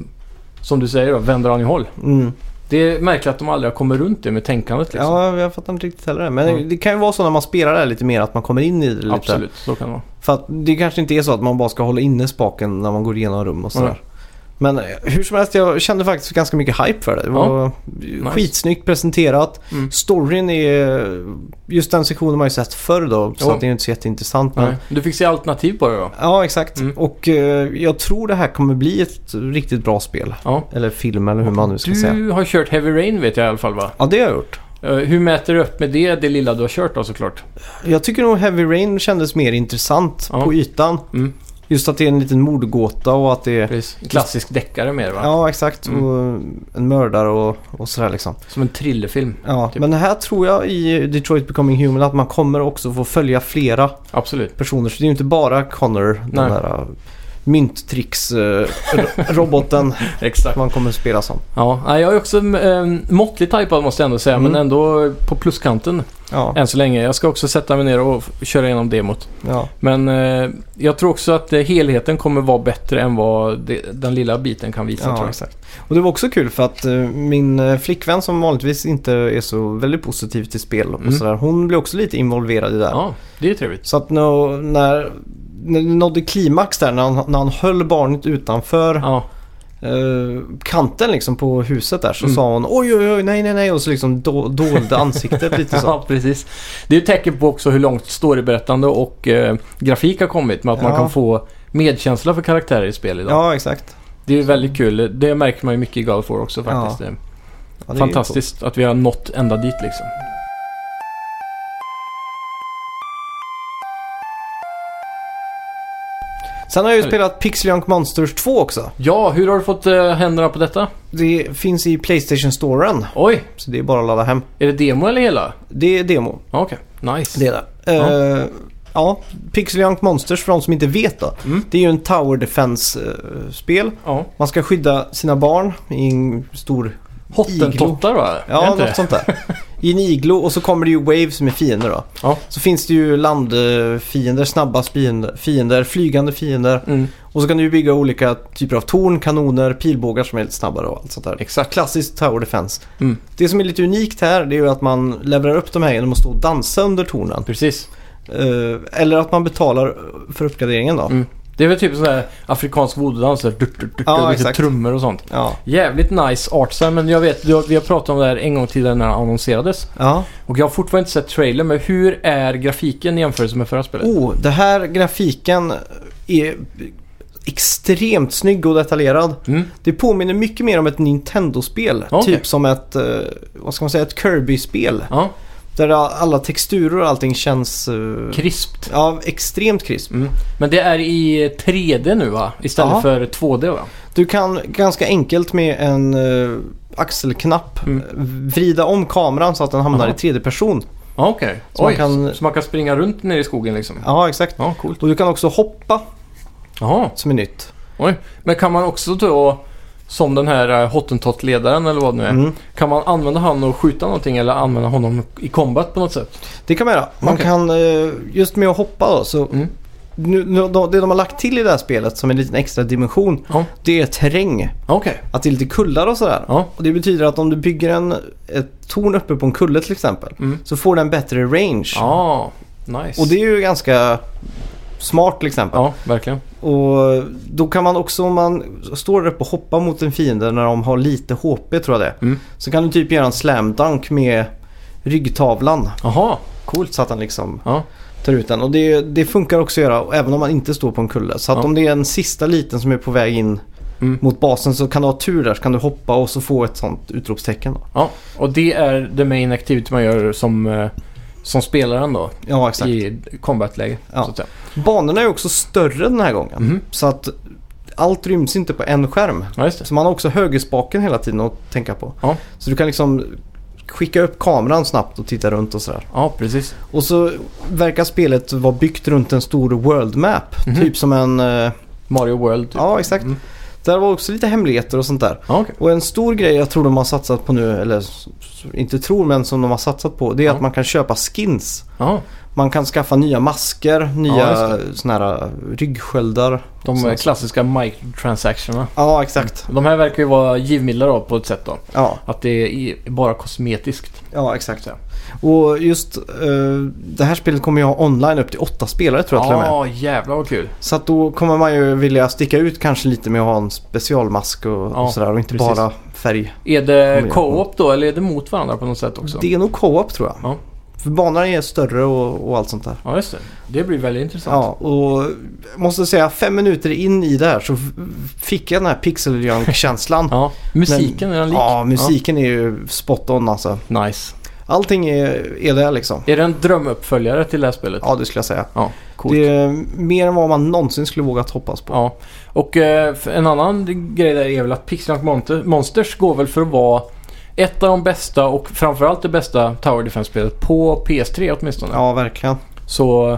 som du säger då, vänder han i håll. Mm. Det är märkligt att de aldrig har kommit runt det med tänkandet liksom. Ja, jag fattar inte riktigt heller det. Men Mm. det kan ju vara så när man spelar det här lite mer att man kommer in i det lite. Absolut, så kan det vara. För att det kanske inte är så att man bara ska hålla inne spaken när man går igenom rum och sådär. Mm. Men eh, hur som helst, jag kände faktiskt ganska mycket hype för det. Det Ja. var skitsnyggt presenterat. Mm. Storyn är... Just den sektionen har man ju sett förr då, så Jo. att det är ju inte så jätteintressant. Men... Nej. Du fick se alternativ på det då? Ja, exakt. Mm. Och eh, jag tror det här kommer bli ett riktigt bra spel. Ja. Eller film eller hur man nu ska du säga. har kört Heavy Rain vet jag i alla fall va? Ja, det har jag gjort. Eh, Hur mäter du upp med det, det lilla du har kört då såklart? Jag tycker nog Heavy Rain kändes mer intressant Ja. på ytan. Mm. Just att det är en liten mordgåta och att det är... Precis. Klassisk deckare mer va? Ja, exakt. Mm. Och en mördare och, och sådär liksom. Som en thrillerfilm. Ja, Typ. men här tror jag i Detroit Becoming Human att man kommer också få följa flera Absolut. personer. Så det är ju inte bara Connor, den Nej. där äh, <laughs> mynttricks-roboten Exakt. man kommer spela som. Ja, nej, jag är också eh, måttligt typad måste jag ändå säga, Mm. men ändå på pluskanten Ja, än så länge. Jag ska också sätta mig ner och f- köra igenom demot. ja. Men eh, jag tror också att eh, helheten kommer vara bättre än vad det, den lilla biten kan visa. tror ja jag. exakt. Och det var också kul för att eh, min eh, flickvän som vanligtvis inte är så väldigt positiv till spel och Mm. sådär. Hon blev också lite involverad i det här. Ja, det är trevligt. Så att nå- när, när det nådde klimax där när han, när han höll barnet utanför Ja, eh, kanten liksom på huset där så Mm. sa hon oj oj oj nej nej nej och så liksom do, dolde ansiktet <laughs> lite så. Ja, precis. Det är ett tecken på också hur långt storyberättande och eh, grafik har kommit med att man Ja. kan få medkänsla för karaktärer i spel idag. Ja exakt. Det är ju väldigt kul. Det märker man ju mycket i God of War också faktiskt. Det är Ja, det är ju coolt. Fantastiskt att vi har nått ända dit liksom. Sen har jag ju spelat Pixel Junk Monsters 2 också. Ja, hur har du fått eh, händerna på detta? Det finns i Playstation Storen. Oj, Så det är bara att ladda hem. är det demo eller hela? Det är demo. Ja, Okej, nice. Det är det. Ja. ja, Pixel Junk Monsters för de som inte vet då. Mm. Det är ju en Tower Defense-spel. Ja. Man ska skydda sina barn i en stor... Hottentottar va? Är det Ja, inte något sånt där. I en iglo och så kommer det ju waves som är fiender då. Ja. Så finns det ju landfiender, snabba fiender, fiender, flygande fiender. det? Mm, Och så kan du ju bygga olika typer av torn, kanoner, pilbågar som är lite snabbare och allt sånt där. exakt. Klassiskt Tower Defense. Mm. Det som är lite unikt här det är ju att man levererar upp de här genom att stå och dansa under tornen. Precis. Eh, eller att man betalar för uppgraderingen då. Mm. Det är väl typ sån där afrikansk voodoo-dans. där, dut, dut, dut, Ja, och lite exakt. trummor och sånt. Ja. Jävligt nice artstyle, men jag vet, du har- vi har pratat om det här en gång tidigare när det annonserades. ja. Och jag har fortfarande inte sett trailern, men hur är grafiken i jämförelse med förra spelet? Oh, det här grafiken är extremt snygg och detaljerad. Mm. Det påminner mycket mer om ett Nintendo-spel. Okej. Typ som ett, eh, vad ska man säga, ett Kirby-spel. Ja, Där alla texturer och allting känns eh, krispt. ja, extremt krisp. Mm. Men det är i 3D nu va? Istället Ja. för 2D va? Du kan ganska enkelt med en eh, axelknapp Mm. vrida om kameran så att den hamnar Aha. i tredje person. Ja, okej. Så man Oj, kan- Så man kan springa runt nere i skogen liksom? Ja, exakt. Ja, coolt. Och du kan också hoppa Jaha. som är nytt. Oj, men kan man också då, som den här eh, Hottentott-ledaren eller vad det nu är, Mm. kan man använda han och skjuta någonting eller använda honom i combat på något sätt? Det kan man göra. Man Okej. kan, eh, just med att hoppa då, så Mm. nu, nu, då, det de har lagt till i det här spelet som en liten extra dimension, Ja. det är terräng. Okej. Att det är lite kullar och sådär. Ja. Och det betyder att om du bygger en, ett torn uppe på en kulle till exempel, Mm. så får den bättre range. Ja, Ah, nice. Och det är ju ganska smart till exempel. Ja, verkligen. Och då kan man också om man står där uppe och hoppar mot en fiende när de har lite HP tror jag det är, Mm. Så kan du typ göra en slam dunk med ryggtavlan. Jaha, coolt. Så att han liksom Ja. tar ut den. Och det, det funkar också att göra även om man inte står på en kulle. Så att Ja. om det är en sista liten som är på väg in Mm. mot basen så kan du ha tur där. Så kan du hoppa och så få ett sånt utropstecken. Då. ja, och det är the main activity man gör som, eh, som spelaren då Ja exakt. i combat-läge. Ja. Så att säga. Banorna är också större den här gången. Mhm. Så att allt ryms inte på en skärm. ja, just det. Så man har också högerspaken hela tiden att tänka på. Ja. Så du kan liksom skicka upp kameran snabbt och titta runt och sådär. Ja, precis. Och så verkar spelet vara byggt runt en stor world map. Mhm. Typ som en... eh, Mario World. Typ. Ja, exakt. Mm. Där var också lite hemligheter och sånt där. Ja, okej. Och en stor grej jag tror de har satsat på nu, eller s- s- inte tror men som de har satsat på, det är Ja. att man kan köpa skins. Ja, Man kan skaffa nya masker, Ja, nya såna här uh, ryggsköldar. de Mm. eh, Sånt. klassiska microtransactionerna. Ja, exakt. De här verkar ju vara givmilda då på ett sätt då. Ja. Att det är i- bara kosmetiskt. Ja, exakt. Och just eh, det här spelet kommer ju ha online upp till åtta spelare tror jag till och med. Ja, jävlar vad kul. Så att då kommer man ju vilja sticka ut kanske lite med att ha en specialmask och, Ja, och sådär och inte precis. bara färg. Är Kommer det jag co-op då eller är det mot varandra på något sätt också? Det är nog co-op tror jag. Ja. För banorna är större och, och allt sånt där. Ja, just det. Det blir väldigt intressant. Ja, och jag måste säga fem minuter in i det här så f- fick jag den här Pixel <laughs> Junk-känslan. Ja. Musiken, är den lik? Ja, musiken är ju spot on alltså. Ja, nice. Allting är, är det liksom. Är det en drömuppföljare till det här spelet? Ja, det skulle jag säga. Ja, coolt. Det är mer än vad man någonsin skulle vågat hoppas på. Ja. Och eh, för- en annan grej där är väl att Pixel Junk Monter- Monsters går väl för att vara ett av de bästa och framförallt det bästa Tower Defense-spelet på PS3 åtminstone. Ja, verkligen. Så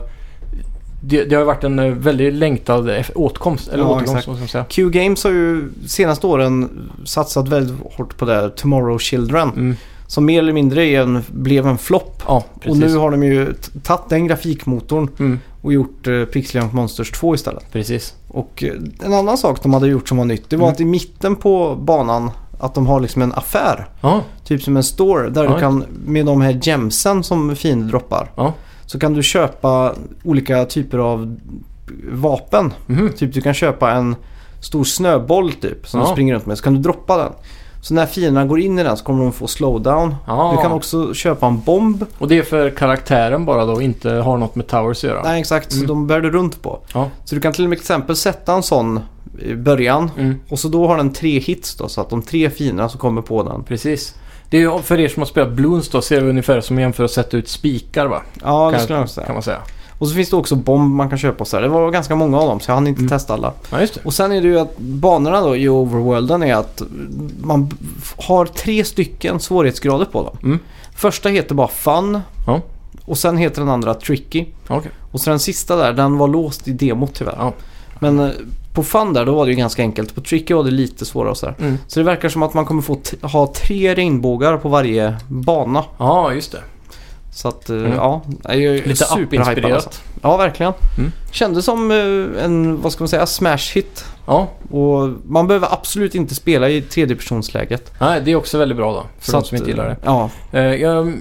det, det har ju varit en eh, väldigt längtad eff- åtkomst. Eller Ja, återkomst, exakt. vad ska man säga. Q Games har ju senaste åren satsat väldigt hårt på det här Tomorrow Children. Mm. Som mer eller mindre är en, blev en flopp. Ja, precis. Och nu har de ju t- tagit den grafikmotorn Mm, och gjort eh, Pixel Junk Monsters 2 istället. precis. Och eh, en annan sak de hade gjort som var nytt det var Mm. att i mitten på banan att de har liksom en affär. Ja, Typ som en store där Ja. du kan med de här gemsen som fiender droppar. Ja. Så kan du köpa olika typer av vapen. mhm. Typ du kan köpa en stor snöboll typ som de Ja. springer runt med. Så kan du droppa den. Så när fienderna går in i den så kommer de få slowdown. Ja. Du kan också köpa en bomb. Och det är för karaktären bara då, inte har något med Towers att göra? Nej exakt, så Mm. de bär du runt på. Ja. Så du kan till exempel sätta en sån i början. Mm, Och så då har den tre hits då så att de tre fienderna som kommer på den. precis. Det är ju för er som har spelat Bloons då, ser det ungefär som jämför att sätta ut spikar va? Ja det Kan- skulle jag säga. Kan man säga. Och så finns det också bomb man kan köpa och så här. Det var ganska många av dem så jag hann inte Mm. testa alla. Ja, just det. Och sen är det ju att banorna då i overworlden är att man b- har tre stycken svårighetsgrader på dem. Mm. Första heter bara fun. Ja. Och sen heter den andra tricky. Okej. Och sen den sista där, den var låst i demot tyvärr. Ja. Men eh, på fun där, då var det ju ganska enkelt. På tricky var det lite svårare och sådär. Mm. Så det verkar som att man kommer få t- ha tre regnbågar på varje bana. Ja, just det. Så att, eh, Mm. ja. Jag är Lite superhypad, alltså. appinspirerat. Ja, verkligen. Mm. Kändes som eh, en, vad ska man säga, smash hit. Ja, Och man behöver absolut inte spela i tredjepersonsläget. nej, det är också väldigt bra då. Så För de som att, inte gillar det. Ja, Eh, jag-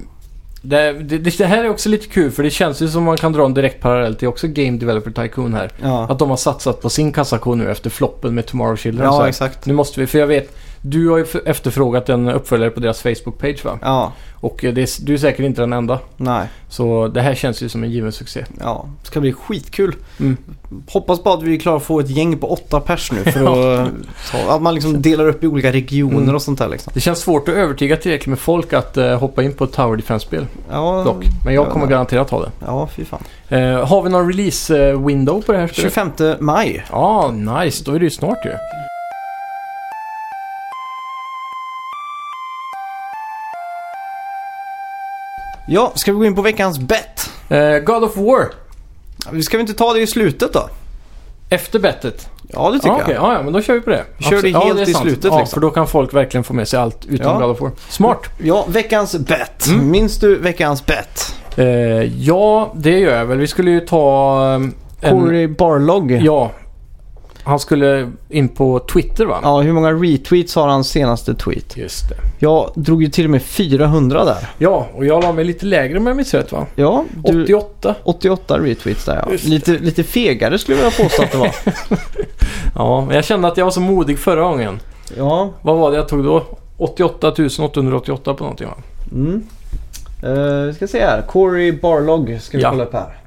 Det, det, det här är också lite kul för det känns ju som man kan dra en direkt parallell till också Game Developer Tycoon här. ja. Att de har satsat på sin kassako nu efter floppen med Tomorrow Children. så ja här. exakt. nu måste vi, för jag vet, du har ju f- efterfrågat en uppföljare på deras Facebook-page va? Ja, Och eh, det, är- du är säkert inte den enda. nej. Så det här känns ju som en given succé. Ja, det ska bli skitkul. Mm. Hoppas bara att vi klarar att få ett gäng på åtta pers nu <laughs> för att, så, att man liksom delar upp i olika regioner Mm. och sånt där liksom. Det känns svårt att övertyga tillräckligt med folk att eh, hoppa in på ett Tower Defense-spel Ja, dock. Men jag Mm. ja, kommer nej. garanterat ha det. Ja, fy fan. Eh, har vi någon release-window på det här spelet? 25 maj. Ja, nice. Då är det ju snart ju. Ja, ska vi gå in på veckans bet? Eh, God of War. Vi Ska vi inte ta det i slutet då? Efter bettet? Ja, det tycker Ja, okej. jag. ja, ja, men då kör vi på det. Vi kör det ja, helt är i sant. slutet, Ja, liksom. för då kan folk verkligen få med sig allt utom Ja. God of War. Smart! Ja, veckans bet. Mm. Minns du veckans bet? Eh, ja, det gör jag väl. Vi skulle ju ta... ehm, Corey Barlog. Ja. ja. Han skulle in på Twitter va? hur många retweets har hans senaste tweet? Just det. Jag drog ju till och med 400 där. Ja, och jag la mig lite lägre om jag minns rätt va? Ja, du... 88. 88 retweets där ja. Just det. Lite, lite fegare skulle jag vilja påstå att det <laughs> var. Ja, men jag kände att jag var så modig förra gången. ja. Vad var det jag tog då? 88 888 på någonting va? Mm. Eh, vi ska se här. Corey Barlog ska vi Ja. kolla upp här.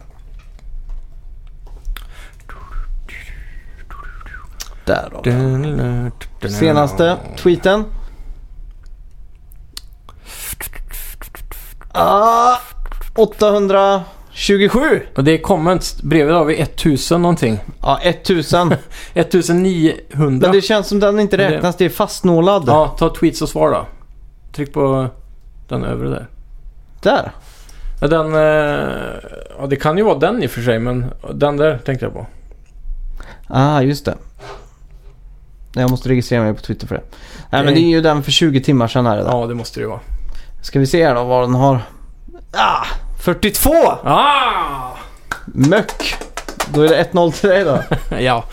Där då. Senaste tweeten. Ah, 827! Och det är comments. Bredvid har vi 1000 någonting. Ja, 1000. <laughs> 1900. Men det känns som den inte Men det- räknas. Det är fastnålad. Ja, ta tweets och svar då. Tryck på den övre där. Där. Ja, Den, eh, ja, det kan ju vara den i och för sig, men den där tänkte jag på. Ah, just det. Nej, Jag måste registrera mig på Twitter för det. Nej, men Det- det är ju den för 20 timmar sedan här idag. Ja, det måste det ju vara. Ska vi se här då vad den har. Ah! 42! Ah! <laughs> Möck! Då är det 1-0 till dig då. Ja.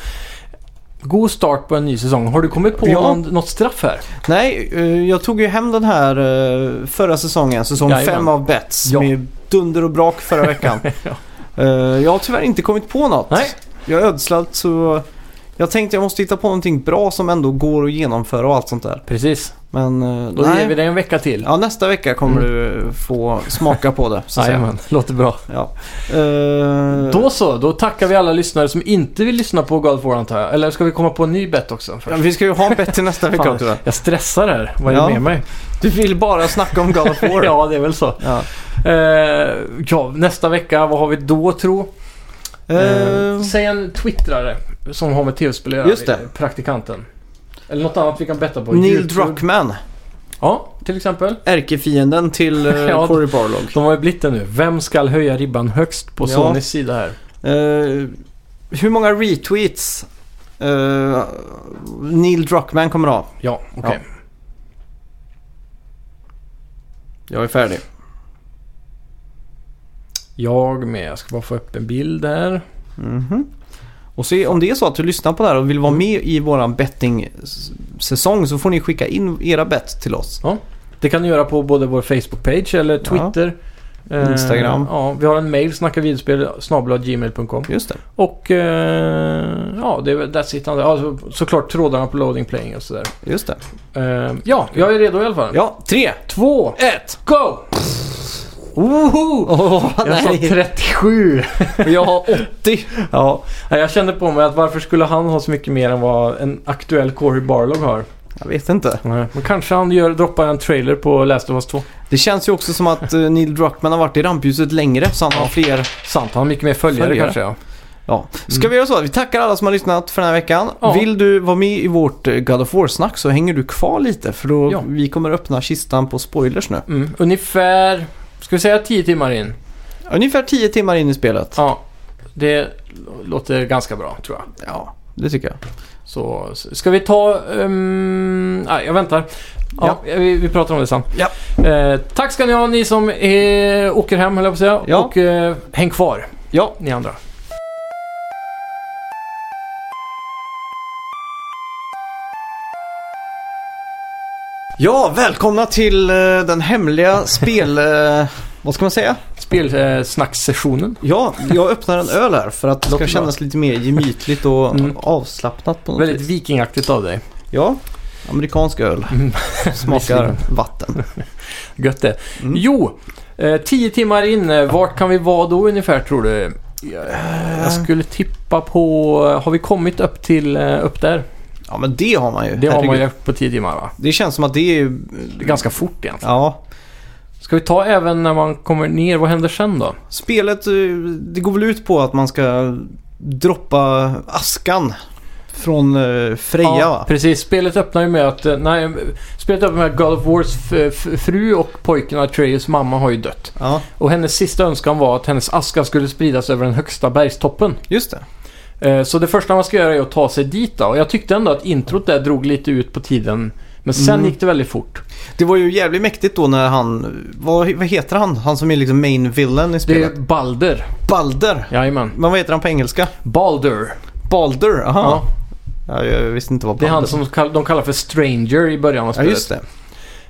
God start på en ny säsong. Har du kommit på Ja. någon, något straff här? Nej, eh, jag tog ju hem den här eh, förra säsongen, säsong Jajamän. 5 av Bets. Ja. Med dunder och brak förra <laughs> veckan. Eh, Jag har tyvärr inte kommit på något. Nej. Jag är ödslad så jag tänkte jag måste hitta på någonting bra som ändå går att genomföra och allt sånt där. Precis. Men eh, Då nej. ger vi dig en vecka till. Ja, nästa vecka kommer Mm. du få smaka på det. Så att säga. Jajamän, låter bra. Ja. Eh, Då så, då tackar vi alla lyssnare som inte vill lyssna på God of War antar jag. Eller ska vi komma på en ny bet också? ja, Först? vi ska ju ha en bett till nästa vecka Fan, också. jag stressar här. Vad är Ja. det med mig? Du vill bara snacka om God of War. <laughs> ja, det är väl så. Ja. Eh, ja, nästa vecka, vad har vi då tro? Eh, Eh, säg en twittrare som har med tv-spel att göra. Just det. Praktikanten. Eller något annat vi kan betta på. Neil YouTube. Druckmann, Ja, till exempel. ärkefienden till <laughs> eh, Ja. Cory Barlog. De har ju blivit det nu. Vem ska höja ribban högst på Ja. Sonys sida här? Eh, hur många retweets eh, Neil Druckmann kommer ha? Ja, okej. Jag är färdig. Jag med. Jag ska bara få upp en bild här. Mhm. Och se om det är så att du lyssnar på det här och vill vara med i våran betting-säsong så får ni skicka in era bett till oss. Det kan du göra på både vår Facebook-page eller Twitter. Eh, Instagram. Ja, vi har en mail, snackavideospel.gmail.com. Just det. Och eh, ja, det är väl that's it. Ja, så, såklart trådarna på loading playing och sådär. Just det. Eh, ja, jag är redo i alla fall. Ja, tre, Två, ett. go! <laughs> Woho! Åh, Jag sa nej. 37. Och jag har 80. <laughs> Ja, nej, jag kände på mig att varför skulle han ha så mycket mer än vad en aktuell Corey Barlog har? Jag vet inte. Men kanske han gör, droppar en trailer på Last of Us 2. Det känns ju också som att eh, Neil Druckmann har varit i rampljuset längre så han har fler. Sant, han har mycket mer följare, Följare. kanske ja. Ja. Ska vi göra så att vi tackar alla som har lyssnat för den här veckan. Mm. Ja. Vill du vara med i vårt eh, God of War-snack så hänger du kvar lite för då Ja. vi kommer öppna kistan på spoilers nu. Mm. Ungefär, ska vi säga 10 timmar in? Ungefär 10 timmar in i spelet. Ja, det låter ganska bra tror jag. Ja, det tycker jag. Så s- ska vi ta... ehm, nej, jag väntar. Ja, Vi, vi pratar om det sen. Ja. Eh, tack ska ni ha ni som eh, åker hem höll jag på att säga. Ja. Och eh, häng kvar Ja, ni andra. Ja, välkomna till eh, den hemliga spel... eh, <laughs> vad ska man säga? eh, Spelsnackssessionen. Ja, jag öppnar en öl här för att det ska Låter bra. kännas lite mer gemytligt och Mm. avslappnat på något Väldigt vis. vikingaktigt av dig. Ja, amerikansk öl. Mm. <laughs> Smakar vatten. Gött det. Mm. Jo, eh, tio timmar in. eh, Vart kan vi vara då ungefär tror du? Eh, Jag skulle tippa på... eh, Har vi kommit upp till... eh, Upp där? Ja, men det har man ju. Det har man Herregud. ju på tio timmar va? Det känns som att det är... Det är ganska fort egentligen. Ja. Ska vi ta även när man kommer ner? Vad händer sen då? Spelet, eh, det går väl ut på att man ska droppa askan från eh, Freja va? precis. Spelet öppnar ju med att... eh, Nej, spelet öppnar med att God of Wars f- f- fru och pojken Atreus mamma har ju dött. Ja, Och hennes sista önskan var att hennes aska skulle spridas över den högsta bergstoppen. just det. Eh, Så det första man ska göra är att ta sig dit då. Och jag tyckte ändå att introt där drog lite ut på tiden. Men sen Mm. gick det väldigt fort. Det var ju jävligt mäktigt då när han... Vad, vad heter han? Han som är liksom main villain i Det spelet. är Balder. Balder. Jajamän. Men vad heter han på engelska? Balder. Balder, aha. Ja, Ja, jag visste inte vad det Balder är han som kall- de kallar för Stranger i början av Ja, spelet. just det.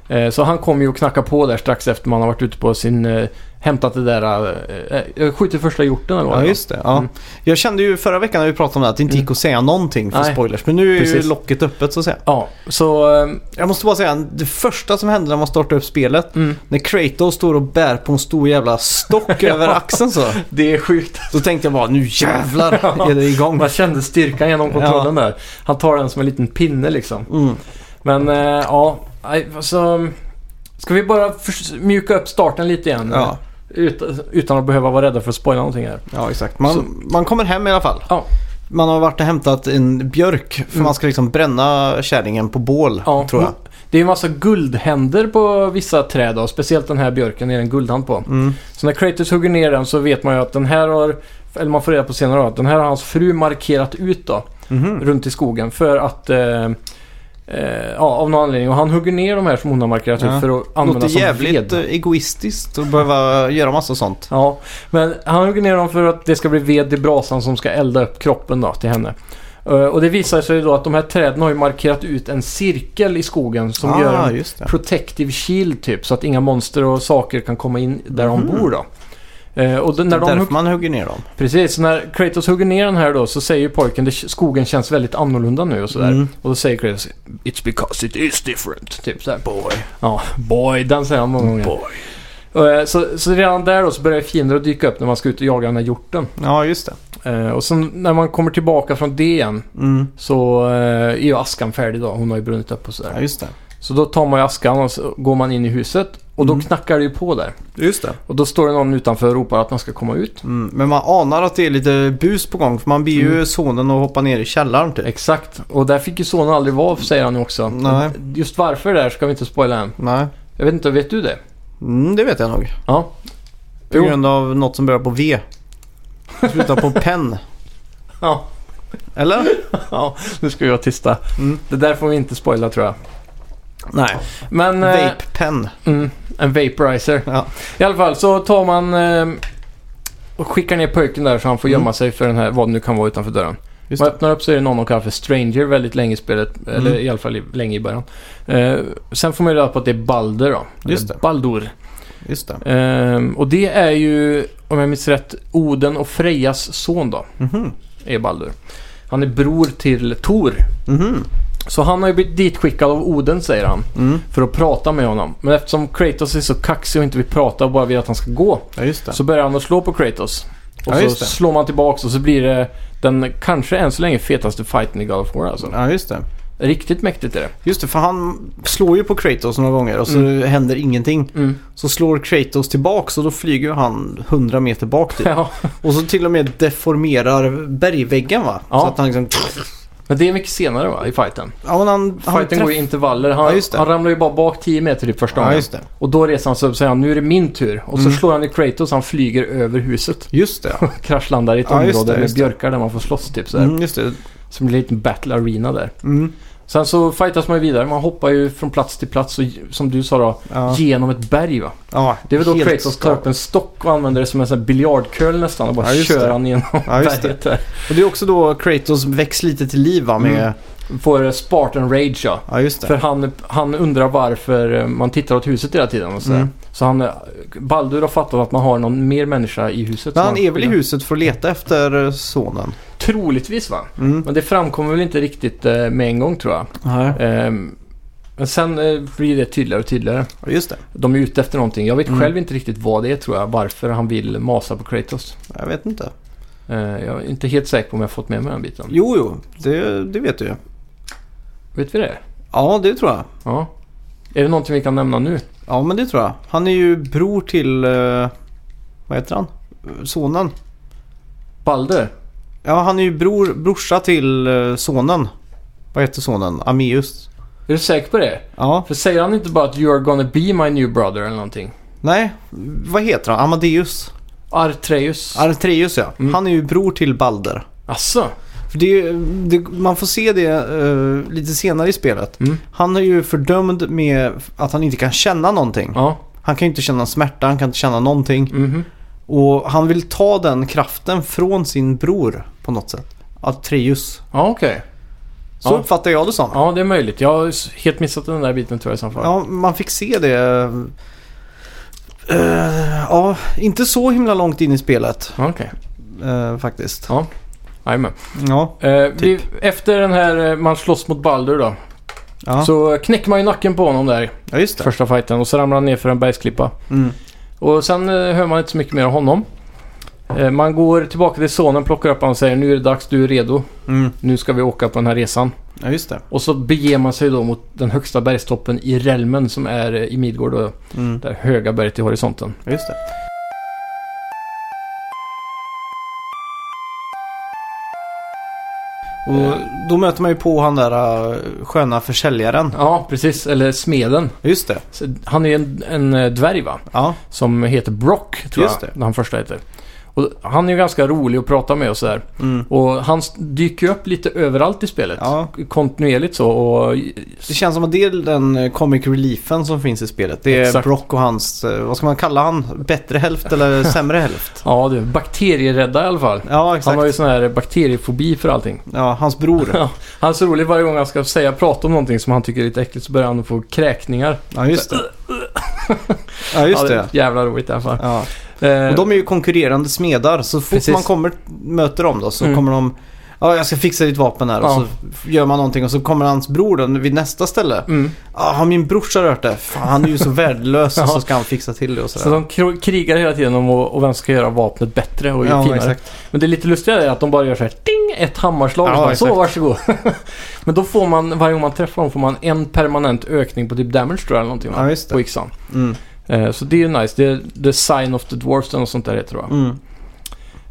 Eh, Så han kommer ju och knackar på där strax efter man har varit ute på sin... eh, Hämtat det där... eh, eh, Skjutit första hjorten eller vad Ja, det var. just det. Ja. Mm. Jag kände ju förra veckan när vi pratade om det här att det inte gick att säga någonting för Nej. spoilers. Men nu är ju Precis. locket öppet så att säga. Ja, så... eh, Jag måste bara säga, det första som hände när man startade upp spelet, Mm, när Kratos står och bär på en stor jävla stock <laughs> över axeln så. det är sjukt. Då tänkte jag bara, nu jävlar <laughs> är det igång. Man kände styrkan genom kontrollen där. Han tar den som en liten pinne liksom. Mm. Men eh, ja, nej, alltså... Ska vi bara förs- mjuka upp starten lite igen? Ja, Utan, utan att behöva vara rädda för att spoila någonting här. ja, exakt. Man, man kommer hem i alla fall. Ja. Man har varit och hämtat en björk för Mm. man ska liksom bränna kärringen på bål, Ja, tror jag. Det är ju massa guldhänder på vissa träd och speciellt den här björken är det en guldhand på. Mm. Så när Kratos hugger ner den så vet man ju att den här har, eller man får reda på senare då, att den här har hans fru markerat ut då, Mhm. runt i skogen för att, eh, eh, ja av någon anledning. Och han hugger ner de här som hon har markerat Ja. ut för att använda Låter som jävligt ved. eh, egoistiskt att behöva göra massa sånt. Ja, men han hugger ner dem för att det ska bli ved i brasan som ska elda upp kroppen då till henne. Eh, Och det visar sig då att de här träden har ju markerat ut en cirkel i skogen som ah, gör en just det. protective shield typ. Så att inga monster och saker kan komma in där de Mhm. bor då. Eh, och då- när de Därför hugg- man hugger ner dem. Precis, så när Kratos hugger ner den här då så säger ju pojken att skogen känns väldigt annorlunda nu och sådär. Mm. Och då säger Kratos It's because it is different. Typ sådär. Boy. Ja, boy. Den säger han många gånger. Och, eh, Så, så redan där då så börjar fiender att dyka upp när man ska ut och jaga den här hjorten. Ja, just det. Eh, och sen när man kommer tillbaka från det igen Mm. så eh, är ju askan färdig då. Hon har ju brunnit upp och sådär. Ja, just det. Så då tar man ju askan och så går man in i huset. Och då Mm. knackar det ju på där. Just det. Och då står det någon utanför och ropar att man ska komma ut. Mm. Men man anar att det är lite bus på gång för man ber ju Mm. sonen att hoppa ner i källaren typ. Exakt, och där fick ju sonen aldrig vara säger han ju också. Nej. Just varför där ska vi inte spoila än. Nej, Jag vet inte, vet du det? mm, det vet jag nog. Ja. På Jo. grund av något som börjar på V. Slutar på pen. Ja. Eller? ja, nu ska vi vara tysta. Mm. Det där får vi inte spoila tror jag. Nej. Men... eh, Vape pen. Mm, en vaporizer. Ja. I alla fall så tar man eh, och skickar ner pojken där så han får gömma Mm. sig för den här, vad det nu kan vara utanför dörren. Just Man det. öppnar upp så är det någon de kallar för Stranger väldigt länge i spelet. Eller Mm. i alla fall i- länge i början. Eh, sen får man ju reda på att det är Balder då. Just Eller det. Baldur. just det. Ehm, och det är ju, om jag minns rätt, Oden och Frejas son då, Mhm. är Baldur. Han är bror till Tor. Mhm. Så han har ju blivit ditskickad av Oden, säger han, Mm. för att prata med honom. Men eftersom Kratos är så kaxig och inte vill prata och bara vill att han ska gå, Ja, just det. så börjar han att slå på Kratos. Och Ja, så just det. slår man tillbaks och så blir det den kanske än så länge fetaste fighten i God of War alltså. Ja, just det. Riktigt mäktigt är det. Just det, för han slår ju på Kratos några gånger och så händer ingenting. Mm. Så slår Kratos tillbaks och då flyger ju han 100 meter bak <laughs> typ. <laughs> Ja. Och så till och med deformerar bergväggen va? Ja. Så att han liksom... Men det är mycket senare va, i fighten. Ja, men han, han Fighten går i intervaller. Han, Ja, just det. han ramlar ju bara bak 10 meter typ första Ja, gången. just det. och då reser han sig upp och säger nu är det min tur. Och så Mm. slår han i Kratos han flyger över huset. Just det, ja. Kraschlandar i ett Ja, just område det, med just det. björkar där man får slåss typ <laughs> så här. Mm, just det. Som en liten battle arena där. Mm. Sen så fightas man ju vidare. Man hoppar ju från plats till plats och som du sa då, Ja. genom ett berg va. Ja, Det är väl då helt Kratos tar galet. upp en stock och använder det som en sån här biljardköl nästan och bara Ja, just kör det. han genom Ja, just det. berget där. <laughs> Och det är också då Kratos väcks lite till liv va? Med... Får eh, Spartan Rage ja. Ja, just För det. han, han undrar varför eh, man tittar åt huset hela tiden och sådär. Mm. Så han, eh, Baldur har fattat att man har någon mer människa i huset. Men som han är väl i skyddar. huset för att leta efter eh, sonen? Troligtvis va? Mm. Men det framkommer väl inte riktigt eh, med en gång tror jag. Ja, Ehm, men sen eh, blir det tydligare och tydligare. just det. De är ute efter någonting. Jag vet Mm. själv inte riktigt vad det är tror jag. Varför han vill masa på Kratos. Jag vet inte. Eh, jag är inte helt säker på om jag har fått med mig den biten. Jo, jo. Det, det vet du ju. Vet vi det? Ja, det tror jag. Ja. Är det någonting vi kan nämna nu? Ja, men det tror jag. Han är ju bror till... eh, Vad heter han? Sonen. Balder? Ja, han är ju bror, brorsa till eh, sonen. Vad heter sonen? Ameus. Är du säker på det? Ja, För säger han inte bara att you're gonna be my new brother eller någonting? nej. Vad heter han? Amadeus. Artreus? Artreus ja. Mm. Han är ju bror till Balder. Asså? För det, är ju- det, man får se det eh, lite senare i spelet. Mm. Han är ju fördömd med att han inte kan känna någonting. Ja. Han kan ju inte känna smärta, han kan inte känna någonting. Mhm. Och han vill ta den kraften från sin bror på något sätt. Atreus. Ja, okej. Så Ja. uppfattar jag det som. Ja. Ja, det är möjligt. Jag har s- helt missat den där biten tror jag i så fall. man fick se det. eh, ja, inte så himla långt in i spelet Ja. Okej. eh, faktiskt. Ja. Jajamän. Ja, Eh, vi, efter den här, eh, man slåss mot Baldur då. ja. Så knäcker man ju nacken på honom där i ja just det. första fighten och så ramlar han ner för en bergsklippa. Mm. Och sen eh, hör man inte så mycket mer av honom. Eh, man går tillbaka till sonen, plockar upp honom och säger nu är det dags, du är redo. Mm. Nu ska vi åka på den här resan. Ja, just det. Och så beger man sig då mot den högsta bergstoppen i Relmen som är eh, i Midgård då. Mm. Det här höga berget i horisonten. Ja, just det. Och då möter man ju på han där eh, sköna försäljaren. Ja, precis. Eller smeden. Ja, Just det. Så Han är ju en, en eh, dvärg va? Ja, Som heter Brock, tror Just jag. det. Det. Han första heter. Och han är ju ganska rolig att prata med och sådär. Mm. Och han s- dyker ju upp lite överallt i spelet. Ja. Kontinuerligt så. Och... det känns som att det är den eh, comic reliefen som finns i spelet. Det är Exakt. Brock och hans, eh, vad ska man kalla han? Bättre hälft <laughs> eller sämre hälft? Ja, du. Bakterierädda i alla fall. Ja, Han exakt. har ju sån här bakteriefobi för allting. Ja, hans bror. Ja, han är så rolig varje gång han ska säga, prata om någonting som han tycker är lite äckligt så börjar han få kräkningar. Ja, just det. Ja, just ja, det. är Jävla roligt i alla fall. Ja. Eh, Och de är ju konkurrerande smedar. Så fort Precis. man kommer, möter dem då så Mm. kommer de... Ja, jag ska fixa ditt vapen här. Ja. Och så gör man någonting och så kommer hans bror då vid nästa ställe. mm. Ja, har min brorsa rört det? Fan, han är <laughs> ju så värdelös. Ja. Så ska han fixa till det och Så sådär. de kro- krigar hela tiden om och, och vem ska göra vapnet bättre och ja, finare. exakt. Men det lite lustiga är att de bara gör så här ding, ett hammarslag Ja, och så, bara, så exakt. varsågod. <laughs> Men då får man, varje gång man träffar dem får man en permanent ökning på typ damage tror jag eller någonting va? Ja, just på det. yxan. Mm. Eh, så det är ju nice. Det är The Sign of the Dwarfs eller något sånt där heter det va? Mm.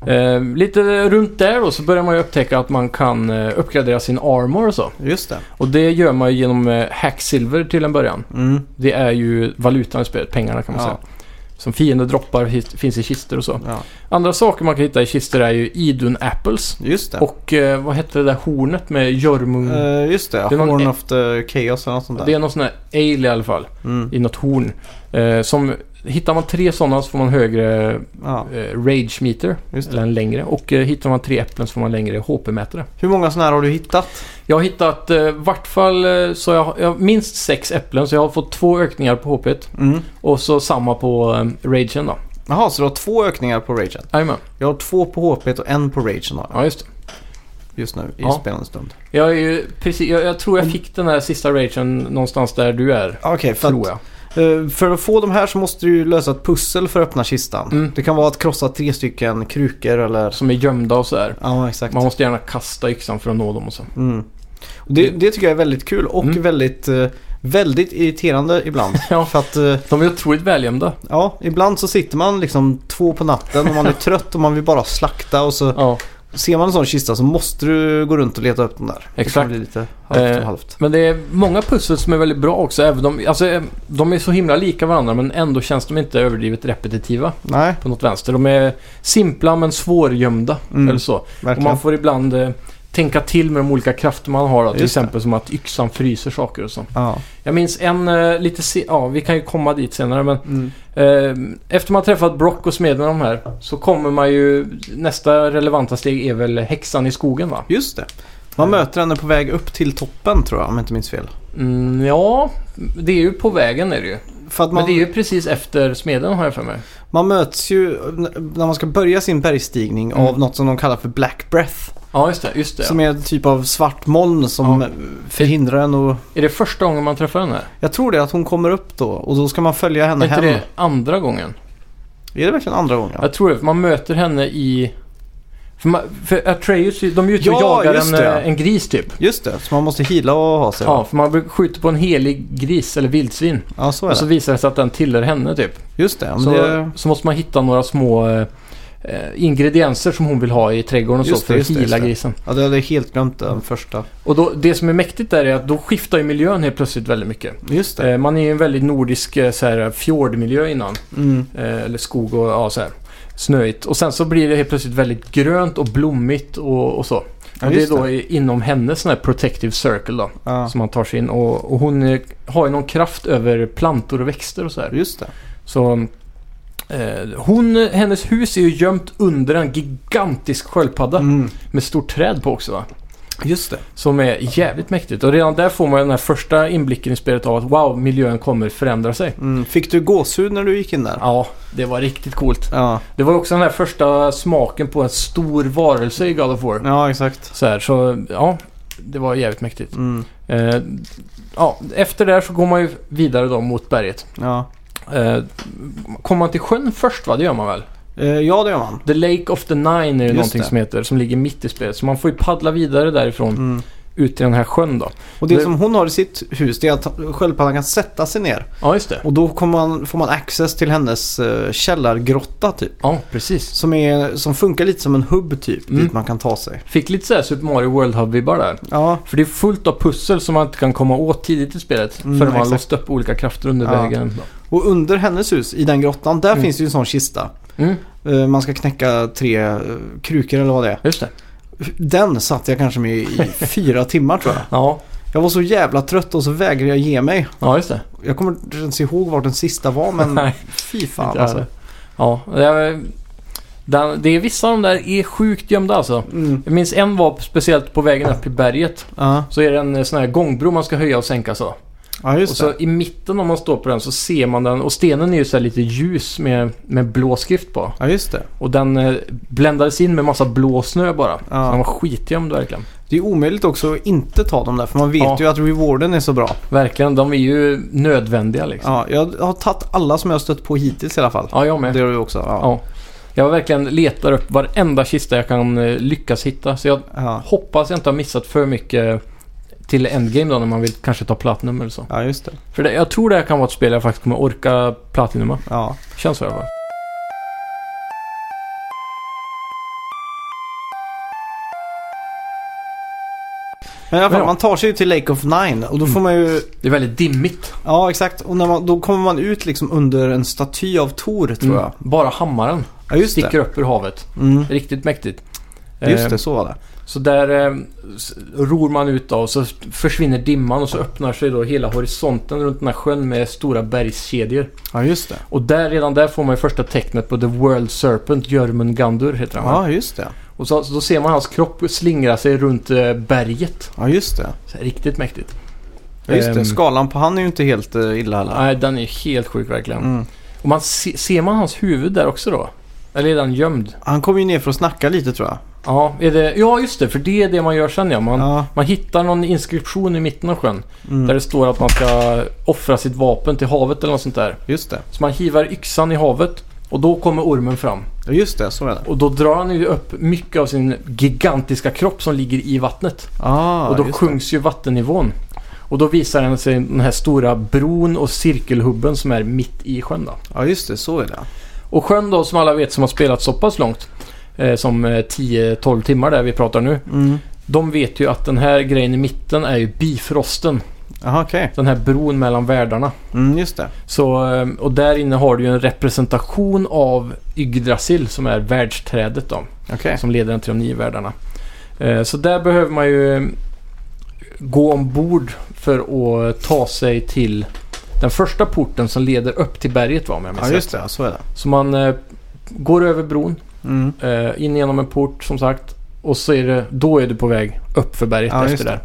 Eh, lite runt där då så börjar man ju upptäcka att man kan eh, uppgradera sin armor och så. Just det. Och det gör man ju genom eh, hacksilver till en början. Mm. Det är ju valutan i spelet, pengarna kan man Ja. säga. Som fiender droppar hit- finns i kistor och så. Ja, Andra saker man kan hitta i kistor är ju Idun Apples. just det. Och eh, vad hette det där hornet med Jörmung? Eh, just det, Det är någon- Horn of the Chaos eller något sånt där. det är någon sån där ale i alla fall. Mm. I något horn. Eh, som Hittar man tre sådana så får man högre Ja, eh, rage meter. just Eller det. en längre. Och eh, hittar man tre äpplen så får man längre HP-mätare. Hur många sådana här har du hittat? Jag har hittat eh, vart fall eh, så jag, jag har minst sex äpplen så jag har fått två ökningar på HP. et Mm. Och så samma på eh, ragen då. Jaha, så du har två ökningar på ragen? Jajamän. Jag har två på HP och en på ragen har jag Ja, just det. just nu i Ja. spelande stund. Jag, är ju, precis, jag, jag tror jag fick den här sista ragen någonstans där du är. Okej, för, Tror att, jag. eh, för att få de här så måste du ju lösa ett pussel för att öppna kistan. Mm. Det kan vara att krossa tre stycken krukor eller... Som är gömda och så där. Ja, exakt. Man måste gärna kasta yxan för att nå dem och så. Mm. Och Det, det tycker jag är väldigt kul och Mm. väldigt, eh, väldigt irriterande ibland. <laughs> Ja. För att, eh, De är otroligt välgömda. ja, ibland så sitter man liksom två på natten och man <laughs> är trött och man vill bara slakta och så Ja. ser man en sån kista så måste du gå runt och leta upp den där. Det kan Exakt. bli lite halvt och Eh, halvt. Men det är många pussel som är väldigt bra också. Även om, alltså, eh, de är så himla lika varandra men ändå känns de inte överdrivet repetitiva Nej, på något vänster. De är simpla men svårgömda. Mm, Eller så. Och verkligen. man får ibland eh, tänka till med de olika krafter man har. Då, till Just det. exempel som att yxan fryser saker och så. Ja. Jag minns en eh, lite se- Ja, vi kan ju komma dit senare men Mm. Eh, Efter man träffat Brock och smeden och de här så kommer man ju... Nästa relevanta steg är väl häxan i skogen va? Just det. Eh. Man möter henne på väg upp till toppen tror jag, om jag inte minns fel. Mm, ja, det är ju på vägen är det ju. För att Men man, det är ju precis efter smeden har jag för mig. man möts ju n- när man ska börja sin bergsstigning Mm. av något som de kallar för black breath. Ja, just det. Just det. Som är en typ av svart moln som Ja. förhindrar en och Är det första gången man träffar henne? Jag tror det att hon kommer upp då och då ska man följa henne Är inte hem. det andra gången? Är det verkligen andra gången? Jag tror det, för man möter henne i... För, man, för Atreus, de är ju ute och Ja, jagar just en, det. eh, en gris typ. Just det, så man måste hila och ha sig. Ja, för man skjuter på en helig gris eller vildsvin. ja så är det. Och så visar det sig att den tillhör henne typ. Just det. Men Så, det... så måste man hitta några små eh, eh, ingredienser som hon vill ha i trädgården och så Just det, för att just det, hila just det. grisen. Ja, det hade jag helt glömt den första. Och då, det som är mäktigt där är att då skiftar ju miljön helt plötsligt väldigt mycket. Just det. Eh, man är ju i en väldigt nordisk eh, så här, fjordmiljö innan. Mm. Eh, eller skog och ja, så här, snöigt. Och sen så blir det helt plötsligt väldigt grönt och blommigt och, och så. Ja, och det är just då i- inom hennes sån här protective circle då. Ja, Som man tar sig in. Och, och hon eh, har ju någon kraft över plantor och växter och så här. just det. Så eh, hon, hennes hus är ju gömt under en gigantisk sköldpadda Mm. med stort träd på också va? Just det. Som är jävligt mäktigt. Och redan där får man den här första inblicken i spelet av att wow, miljön kommer förändra sig. Mm. Fick du gåshud när du gick in där? Ja, det var riktigt coolt. Ja, Det var också den här första smaken på en stor varelse i God of War. ja exakt. Så här, så ja, det var jävligt mäktigt. Mm. Eh, ja, efter det här så går man ju vidare då mot berget. Ja. Eh, kommer man till sjön först va? Det gör man väl? Eh, ja, det gör man. The Lake of the Nine är ju Just någonting det. som heter, som ligger mitt i spelet. Så man får ju paddla vidare därifrån Mm. ut till den här sjön då. Och det, Det- som hon har i sitt hus det är att sköldpaddan kan sätta sig ner. Ja, just det. Och då kommer man, får man access till hennes eh, källargrotta typ. Ja, precis. Som, är, som funkar lite som en hubb typ, Mm. dit man kan ta sig. Fick lite såhär Super Mario World Hub-vibbar där. Ja, För det är fullt av pussel som man inte kan komma åt tidigt i spelet. Mm, förrän man har exakt. låst upp olika krafter under Ja. vägen. och under hennes hus, i den grottan, där Mm. finns det ju en sån kista. Mm, Eh, Man ska knäcka tre eh, krukor eller vad det är. just det. Den satt jag kanske med <laughs> i fyra timmar tror jag. Ja, Jag var så jävla trött och så vägrade jag ge mig. ja just det. Jag kommer inte ens ihåg vart den sista var men Nej, fy fan inte jag alltså. heller. Ja, det är, den, det är vissa av de där är sjukt gömda alltså. Mm. Jag minns en var speciellt på vägen upp i berget. Ja, Så är det en eh, sån här gångbro man ska höja och sänka så. ja Och just så det. i mitten om man står på den så ser man den och stenen är ju så här lite ljus med, med blå skrift på. Ja, just det. Och den eh, bländades in med massa blå snö bara. Ja. Så den var skitgömd verkligen. Det är omöjligt också att inte ta dem där för man vet Ja. ju att rewarden är så bra. Verkligen, de är ju nödvändiga liksom. Ja, jag har tagit alla som jag har stött på hittills i alla fall. Ja, jag Det med. har du också. Ja. Ja. Jag verkligen letar upp varenda kista jag kan eh, lyckas hitta. Så jag Ja. hoppas jag inte har missat för mycket eh, till endgame då när man vill kanske ta platinum eller så. ja, just det. För det, jag tror det här kan vara ett spel jag faktiskt kommer orka platinuma. Ja. Känns så i alla fall. Men i alla fall, Ja. Mm. man tar sig ju till Lake of Nine och då får man ju Det är väldigt dimmigt. Ja, exakt. Och när man, då kommer man ut liksom under en staty av Tor, tror jag. Bara hammaren Ja, just Mm. sticker det. upp ur havet. Mm. Riktigt mäktigt. Just Eh, det, så var det. Så där eh, s- ror man ut då och så försvinner dimman och så öppnar sig då hela horisonten runt den här sjön med stora bergskedjor. Ja, just det. Och där, redan där får man ju första tecknet på The World Serpent, Jörmungandr heter han va? Ja, just det. Och så, så då ser man hans kropp slingra sig runt eh, berget. Ja, just det. Så här, riktigt mäktigt. Ja, just det. Ehm. Skalan på han är ju inte helt eh, illa heller. Nej, den är helt sjuk verkligen. Mm. Och man se, ser man hans huvud där också då? Eller är den gömd? Han kommer ju ner för att snacka lite tror jag. Ja, är det, ja just det, för det är det man gör sen ja. Man, Ja, man hittar någon inskription i mitten av sjön. Där mm. det står att man ska offra sitt vapen till havet eller något sånt där. Just det. Så man hivar yxan i havet och då kommer ormen fram. Ja, just det. Så är det. Och då drar han ju upp mycket av sin gigantiska kropp som ligger i vattnet. Ah, och då just sjunks ju vattennivån. Och då visar den sig den här stora bron och cirkelhubben som är mitt i sjön då. det. Ja, just det. Så är det. Och sjön då som alla vet som har spelat så pass långt. Eh, som eh, 10-12 timmar där vi pratar nu. Mm. De vet ju att den här grejen i mitten är ju bifrosten. Jaha, okej. Den här bron mellan världarna. Mm, just det. Så, eh, och där inne har du ju en representation av Yggdrasil som är världsträdet då. Okej. Eh. Som leder till de nio världarna. Eh, Så där behöver man ju eh, gå ombord för att eh, ta sig till den första porten som leder upp till berget va, om jag minns Ja, rätt. just det. Ja, Så är det. Så man eh, går över bron, Mm. eh, in genom en port som sagt. Och så är det, då är du på väg upp för berget Ja, efter just det. där.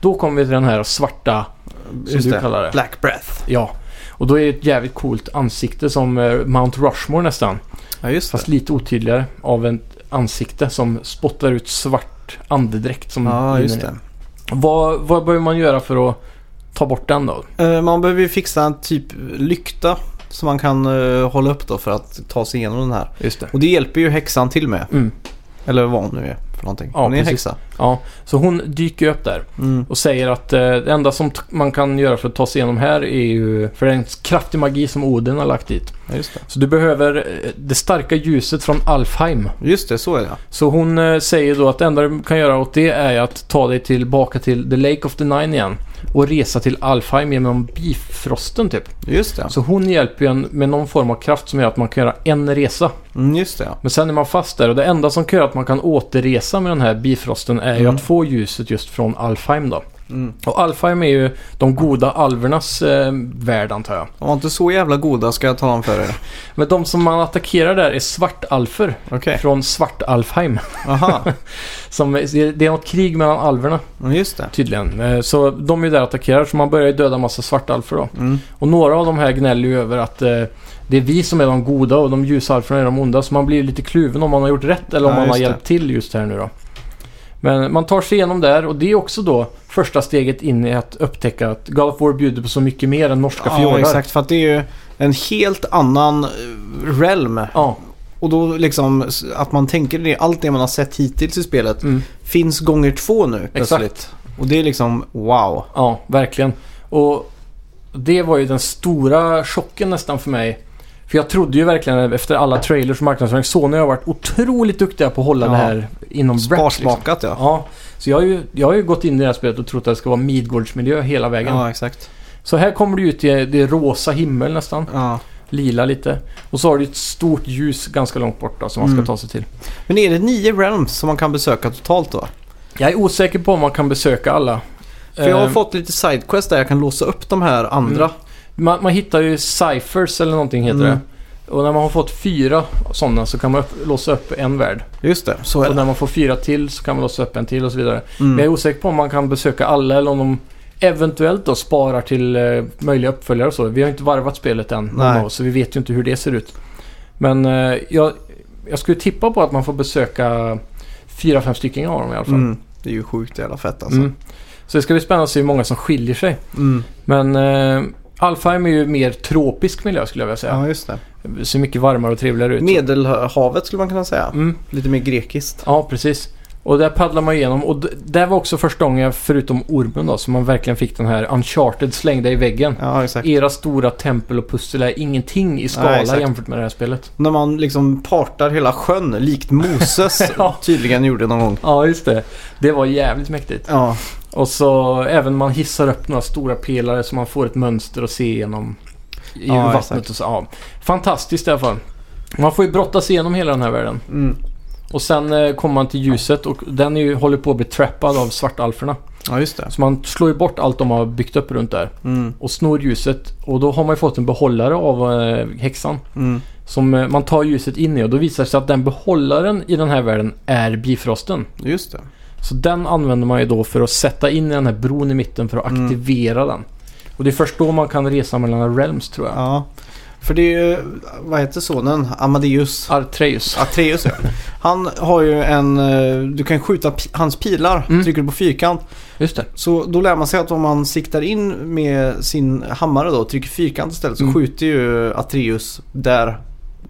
Då kommer vi till den här svarta, som Just du det. kallar det. Black Breath. Ja. Och då är det ett jävligt coolt ansikte som eh, Mount Rushmore nästan. Ja, just det. Fast lite otydligare av ett ansikte som spottar ut svart andedräkt. Som Ja, rinner just ner. det. Vad, vad behöver man göra för att ta bort den då? Eh, Man behöver ju fixa en typ lykta som man kan eh, hålla upp då för att ta sig igenom den här. Just det. Och det hjälper ju häxan till med. Mm. Eller vad hon nu är för någonting. Ja, hon är en precis. häxa. Ja, så hon dyker upp där Mm. och säger att eh, det enda som t- man kan göra för att ta sig igenom här är ju... För det är en kraftig magi som Oden har lagt dit. Ja, just det. Så du behöver eh, det starka ljuset från Alfheim. Just det, så är det. Så hon eh, säger då att det enda du kan göra åt det är att ta dig tillbaka till The Lake of the Nine igen. Och resa till Alfheim genom bifrosten typ. Just det. Så hon hjälper ju en med någon form av kraft som gör att man kan göra en resa. Mm, just det. Men sen är man fast där och det enda som kan göra att man kan återresa med den här bifrosten är ju Mm. att få ljuset just från Alfheim då. Mm. Och Alfheim är ju de goda alvernas eh, värld antar jag. De var inte så jävla goda ska jag tala om för <laughs> er. Men de som man attackerar där är svartalfer Okej. från Svartalfheim. <laughs> Aha. Som, det är något krig mellan alverna. Mm, just det. Tydligen. Eh, Så de är ju där och attackerar, så man börjar ju döda massa svartalfer då. Mm. Och några av de här gnäller ju över att eh, det är vi som är de goda och de ljusa alferna är de onda. Så man blir ju lite kluven om man har gjort rätt eller om Ja, man har just det. hjälpt till just här nu då. Men man tar sig igenom där och det är också då första steget in i att upptäcka att God of War bjuder på så mycket mer än norska Ja, fjordar. exakt. För att det är ju en helt annan eh, realm. Ja, Och då liksom s- att man tänker det, allt det man har sett hittills i spelet mm, finns gånger två nu plötsligt. exakt. Och det är liksom wow. Ja, verkligen. Och det var ju den stora chocken nästan för mig. För jag trodde ju verkligen efter alla trailers och marknadsföring, Sony har varit otroligt duktiga på att hålla Ja. det här inom wraps. Liksom. Sparsmakat ja. Ja, så jag har, ju, jag har ju gått in i det här spelet och trott att det ska vara Midgårdsmiljö hela vägen. Ja, exakt. Så här kommer du ut i det rosa himmel nästan. Ja. Lila lite. Och så har du ett stort ljus ganska långt bort då, som man Mm. ska ta sig till. Men är det nio realms som man kan besöka totalt då? Jag är osäker på om man kan besöka alla. För jag har Eh, Mm. fått lite sidequest där jag kan låsa upp de här andra. Man, man hittar ju ciphers eller någonting heter Mm. det. Och när man har fått fyra sådana så kan man upp, låsa upp en värld. Just det, så är Och det. när man får fyra till så kan man låsa upp en till och så vidare. Men jag är Mm. osäker på om man kan besöka alla eller om de eventuellt då sparar till eh, möjliga uppföljare och så. Vi har inte varvat spelet än, någon Nej. av oss, så vi vet ju inte hur det ser ut. Men eh, jag, jag skulle tippa på att man får besöka fyra, fem stycken av dem i alla fall. Mm. Det är ju sjukt jävla fett alltså. Mm. Så det ska bli spännande att se hur många som skiljer sig. Mm. Men eh, Alfheim är ju mer tropisk miljö skulle jag vilja säga Ja, just det. ser mycket varmare och trevligare ut. Medelhavet skulle man kunna säga. Mm, Lite mer grekiskt. ja, precis. Och där paddlar man igenom och d- där var också första gången, förutom ormen då, som man verkligen fick den här Uncharted slängda i väggen. Ja, exakt. Era stora tempel och pussel är ingenting i skala Nej, exakt. jämfört med det här spelet. När man liksom partar hela sjön likt <laughs> Moses Ja. tydligen gjorde någon gång. Ja, just det. Det var jävligt mäktigt. Ja, Och så även man hissar upp några stora pelare så man får ett mönster att se igenom i Ja, vattnet exakt. och så. Ja. Fantastiskt i alla fall. Man får ju brottas igenom hela den här världen. mm. Och sen eh, kommer man till ljuset och den är ju, håller på att bli trappad av svartalferna. Ja, just det. Så Alltså man slår ju bort allt de har byggt upp runt där Mm, och snor ljuset och då har man ju fått en behållare av eh, häxan. mm. Som eh, man tar ljuset in i och då visar det sig att den behållaren i den här världen är bifrosten. Just det. Så den använder man ju då för att sätta in i den här bron i mitten för att Mm. aktivera den. Och det är först då man kan resa mellan realms tror jag. Ja. För det är ju, vad heter sonen? Amadeus. Artreus. Atreus ja. Han har ju en, eh, du kan skjuta pi- hans pilar. Mm. Trycker du på fyrkant. Just det. Så då lär man sig att om man siktar in med sin hammare då, trycker fyrkant istället, så Mm. skjuter ju Atreus där.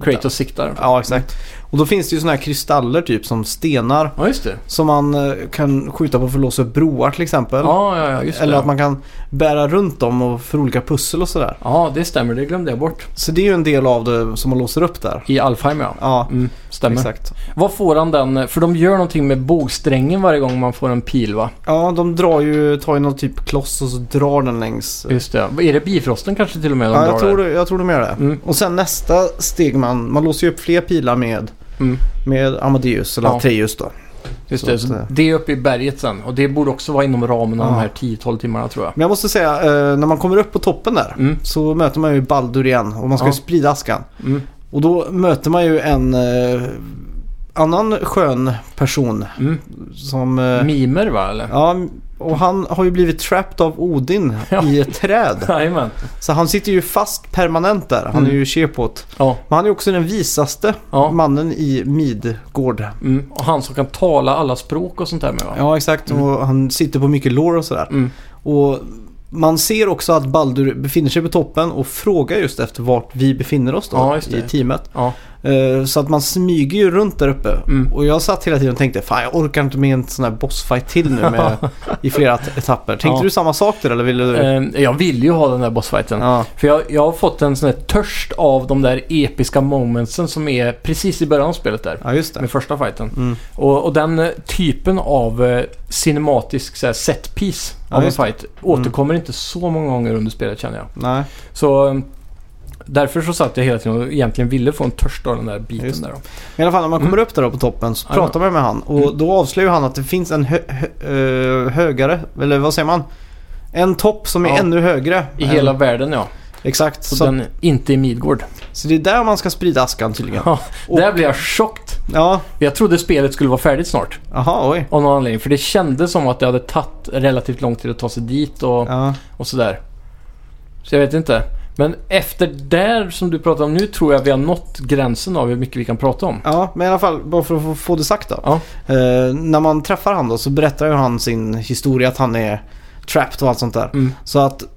Kratos siktar. Ja, exakt. Och då finns det ju sådana här kristaller typ som stenar. Ja, just det. Som man eh, kan skjuta på för att låsa upp broar till exempel. Ja, ja, ja, just det. Eller att man kan bära runt dem och för olika pussel och sådär. Ja, det stämmer. Det glömde jag bort. Så det är ju en del av det som man låser upp där. I Alfheim ja. Ja, Mm, stämmer. exakt. Vad får han den? För de gör någonting med bågsträngen varje gång man får en pil va? Ja, de drar ju, tar ju någon typ kloss och så drar den längs. Just det. Är det bifrosten kanske till och med de Ja, drar jag tror, där? det, jag tror de gör det. Mm. Och sen nästa steg man, man låser ju upp fler pilar med, Mm. med Amadeus eller Ja. Atreus då. Just Så det, att, så eh, det är uppe i berget sen. Och det borde också vara inom ramen av Ja. de här 10-12 timmarna tror jag. Men jag måste säga, eh, när man kommer upp på toppen där Mm. så möter man ju Baldur igen och man ska Ja. ju sprida askan. Mm. Och då möter man ju en eh, annan skön person Mm. som... Eh, Mimer va eller? ja, och han har ju blivit trapped av Odin Ja. i ett träd. <laughs> Jajamän. Så han sitter ju fast permanent där. Han Mm. är ju Shepot. Ja, Men han är också den visaste ja. mannen i Midgård. Mm. Och han som kan tala alla språk och sånt där med va? Ja, exakt. Och han sitter på mycket lår och sådär. Mm. Och man ser också att Baldur befinner sig på toppen och frågar just efter vart vi befinner oss då Ja, just det. i teamet. Ja. Eh, Så att man smyger ju runt där uppe. Mm. Och jag satt hela tiden och tänkte fan jag orkar inte med en sån här bossfight till nu <laughs> med, i flera t- etapper. Tänkte Ja. du samma sak där eller ville du? Ehm, Jag vill ju ha den där bossfighten. Ja. För jag, jag har fått en sån här törst av de där episka momentsen som är precis i början av spelet där. ja, just det. Med första fighten. Mm. Och, och den eh, typen av eh, cinematisk så här, set piece Ja, av en just Mm. fight återkommer inte så många gånger under spelet känner jag. Nej, Så eh, därför så satt jag hela tiden och egentligen ville få en törst av den där biten Just där. Då. men i alla fall när man kommer upp där då på toppen så Mm. Ja, pratar man med han och Mm. då avslöjar han att det finns en hö- hö- eh, högare, eller vad säger man? En topp som är Ja. ännu högre. I än- hela världen ja. Exakt. Så, Så, den inte i Midgård. så det är där man ska sprida askan tydligen. Ja, Och- där blev jag chockad. Ja, Jag trodde spelet skulle vara färdigt snart. aha oj. Av någon anledning. För det kändes som att det hade tagit relativt lång tid att ta sig dit och, Ja, och sådär. Så jag vet inte. Men efter där som du pratar om nu tror jag vi har nått gränsen av hur mycket vi kan prata om. ja, men i alla fall bara för att få- få det sagt då. Ja. Eh, när man träffar han då så berättar ju han sin historia att han är trapped och allt sånt där. Mm. Så att eh,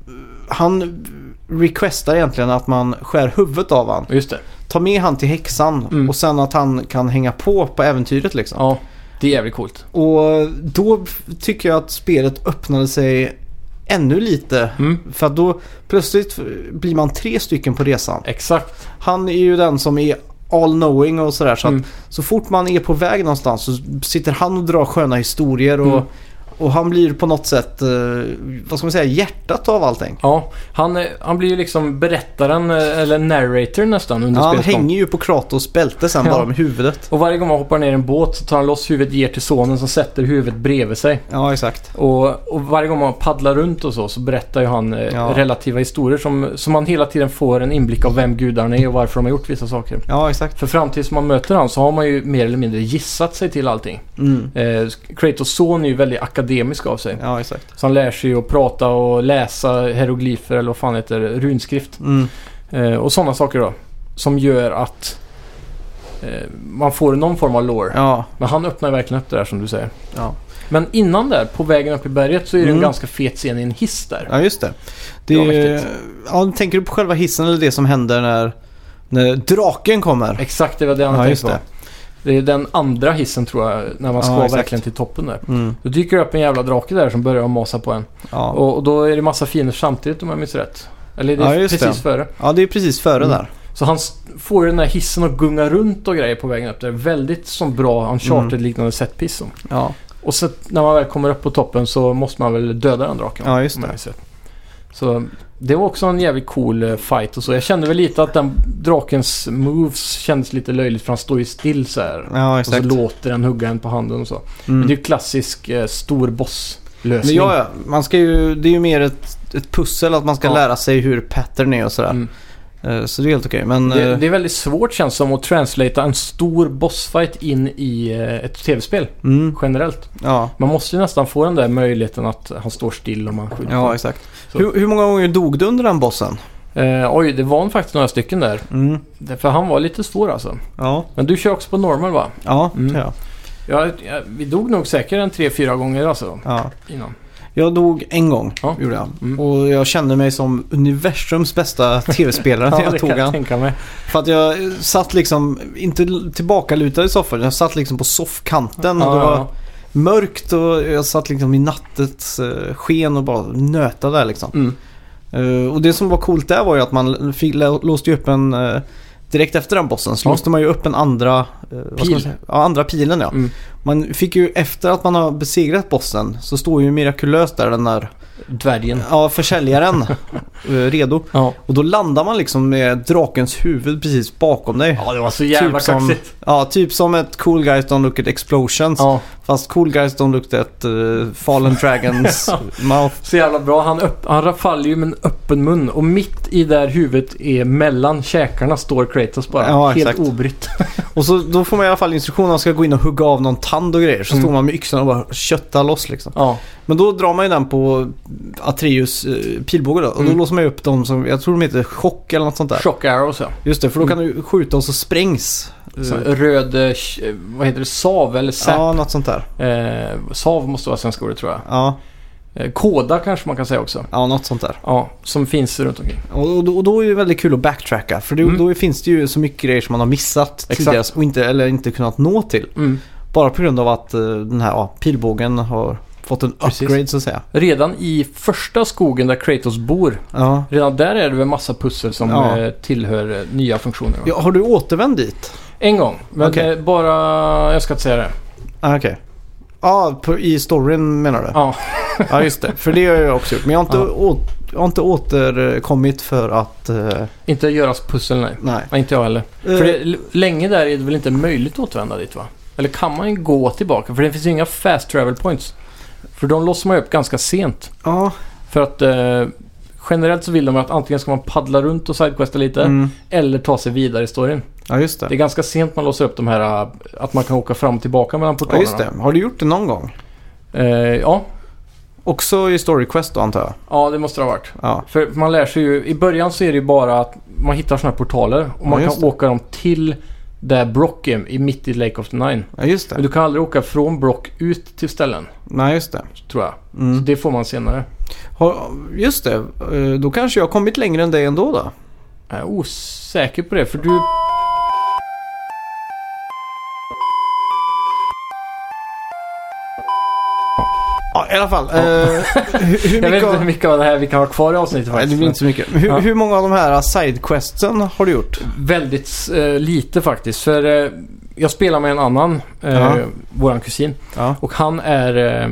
han requestar egentligen att man skär huvudet av han. Just det. Ta med han till häxan Mm. och sen att han kan hänga på på äventyret liksom. Ja, det är jävligt coolt. Och då tycker jag att spelet öppnade sig ännu lite. Mm. För att då plötsligt blir man tre stycken på resan. Exakt. Han är ju den som är all knowing och sådär. Så, Mm. att så fort man är på väg någonstans så sitter han och drar sköna historier. Och, Mm. och han blir på något sätt, eh, vad ska man säga, hjärtat av allting. Ja, han, eh, han blir ju liksom berättaren eh, eller narrator nästan under Ja, han spelets gång. hänger ju på Kratos bälte sen <laughs> Ja. bara med huvudet. Och varje gång man hoppar ner i en båt så tar han loss huvudet, ger till sonen som sätter huvudet bredvid sig. Ja, exakt. Och, och varje gång man paddlar runt och så, så berättar ju han eh, Ja. relativa historier som, som man hela tiden får en inblick av vem gudarna är och varför de har gjort vissa saker. Ja, exakt. För fram tills man möter han så har man ju mer eller mindre gissat sig till allting. Mm. Eh, Kratos son är ju väldigt akademisk av sig. Ja, exakt. Så han lär sig ju att prata och läsa hieroglyfer eller vad fan heter det, runskrift. Mm. Eh, och sådana saker då. Som gör att eh, man får någon form av lore. Ja, Men han öppnar verkligen upp det där som du säger. Ja. Men innan där, på vägen upp i berget, så är det Mm. en ganska fet scen i en hiss där. ja just det. det Det var är, mäktigt. ja, tänker du på själva hissen eller det som händer när, när draken kommer? Exakt, det var det han Ja, tänkte just på. det. Det. är den andra hissen tror jag, när man Ja, ska exakt. verkligen till toppen där. Mm. Då dyker det upp en jävla drake där som börjar masa på en. Ja. Och, och då är det massa fiender samtidigt om jag minns rätt. Eller det Ja, är just precis det. före. ja, det är precis före Mm. där. Så han s- får ju den där hissen att gunga runt och grejer på vägen upp där. Väldigt som bra Mm. Uncharted-liknande setpiece. som. Ja. Och så när man väl kommer upp på toppen så måste man väl döda den draken. Ja, just om det. jag minns rätt. Så Det var också en jävligt cool eh, fight och så. Jag kände väl lite att den drakens moves kändes lite löjligt för han står ju still så här. Ja, Och så exakt. låter den hugga en på handen och så. Mm. Men det är ju klassisk eh, stor boss-lösning. Men ja, ja, man ska ju, det är ju mer ett, ett pussel att man ska Ja. lära sig hur pattern är och sådär. Mm. Eh, Så det är helt okej. Men Det, eh, det är väldigt svårt känns som att translatea en stor bossfight in i eh, ett tv-spel Mm, generellt. ja. Man måste ju nästan få den där möjligheten att han står still om man skjuter. Ja, exakt. Så. Hur, hur många gånger dog du under den bossen? Eh, oj, det var faktiskt några stycken där. Mm. För han var lite svår alltså. Ja, Men du kör också på normal va? ja, Mm. ja, Ja, ja, vi dog nog säkert en tre, fyra gånger alltså ja. innan. Jag dog en gång, Ja. gjorde jag. Mm. Och jag kände mig som universums <laughs> bästa tv-spelare när jag det tog kan jag han. tänka mig. För att jag eh, satt liksom, inte l- tillbakalutad i soffan, jag satt liksom på soffkanten. och det var ja, mörkt och jag satt liksom i nattets eh, sken och bara nötade där liksom. Mm. Eh, och det som var coolt där var ju att man fick, lä- låste ju upp en... eh, direkt efter den bossen så Ja. låste man ju upp en andra... eh, vad ska Pil. man säga? Ja, andra pilen ja. Mm. Man fick ju efter att man har besegrat bossen så står ju mirakulöst där den där... dvärgen. Ja, <laughs> försäljaren. eh, redo. Ja. Och då landar man liksom med drakens huvud precis bakom dig. ja, det var så jävla Typ som- kaxigt. Ja, typ som ett Cool Guys Don't Look At Explosions. Ja, Fast Cool Guys Don't Look At eh, Fallen <laughs> Dragons Mouth. så jävla bra. Han, öpp- han faller ju med en öppen mun och mitt i där huvudet är mellan käkarna står Kratos bara. Ja, helt exakt. <laughs> obrytt. Och så, då får man i alla fall instruktioner om man ska gå in och hugga av någon tand och grejer. Så Mm. står man med yxan och bara köttar loss liksom. Ja, Men då drar man ju den på Atreus eh, pilbåge då. Och då Mm. låser man ju upp dem som, jag tror de heter chock eller något sånt där. chock arrows ja. Just det, för då kan Mm. du skjuta och så sprängs. Så Röd, eh, sh- eh, vad heter det, sav eller Ja, sap. något sånt där. Eh, sav måste vara svenska ordet tror jag. Ja, Eh, koda kanske man kan säga också. ja något sånt där. Ja, som finns runt omkring. Och, och, då- och då är det ju väldigt kul att backtracka. För det, Mm. då finns det ju så mycket grejer som man har missat tidigare och inte, eller inte kunnat nå till. Mm. Bara på grund av att eh, den här ja, pilbågen har fått en Precis. upgrade så att säga. Redan i första skogen där Kratos bor, Ja. redan där är det väl massa pussel som Ja. eh, tillhör eh, nya funktioner. va? Ja, har du återvänt dit? En gång, men Okej. eh, bara... Jag ska inte säga det. Ah, Okej. Ja, på i storyn menar du? Ja. Ja, just det. För det har jag också gjort. Men jag har inte, Ja. å, jag har inte återkommit för att... eh, Inte göras pussel, nej. nej. nej. Inte jag heller. Eh, För det, l- länge där är det väl inte möjligt att återvända dit, va? Eller kan man ju gå tillbaka? För det finns ju inga fast travel points. För de låser man ju upp ganska sent. ja. För att... Eh, generellt så vill de att antingen ska man paddla runt och sidequesta lite, Mm. eller ta sig vidare i storyn. ja, just Det är det. ganska sent man låser upp de här, äh, att man kan åka fram och tillbaka mellan Ja, portalerna. just det. Har du gjort det någon gång? Eh, ja. Också i Story Quest då antar jag? ja, det måste det ha varit. Ja. För man lär sig ju, i början så är det ju bara att man hittar sådana här portaler och man Ja, just kan det. åka dem till där Brock är, i mitt i Lake of the Nine. Ja, just Men det. du kan aldrig åka från Brock ut till ställen, Nej, just det. tror jag. Så Mm. det får man senare. Har, just det. Eh, Då kanske jag har kommit längre än dig ändå då? Jag är osäker på det, för du... Ja, i alla fall. Eh, hur, hur <laughs> Jag vet mycket inte hur av... mycket av det här vi kan ha kvar i avsnittet Nej, det faktiskt. blir inte så mycket. Hur, Ja. hur många av de här sidequestsen har du gjort? Väldigt eh, lite faktiskt. För eh, jag spelar med en annan, eh, Ja. våran kusin. Ja. Och han är eh,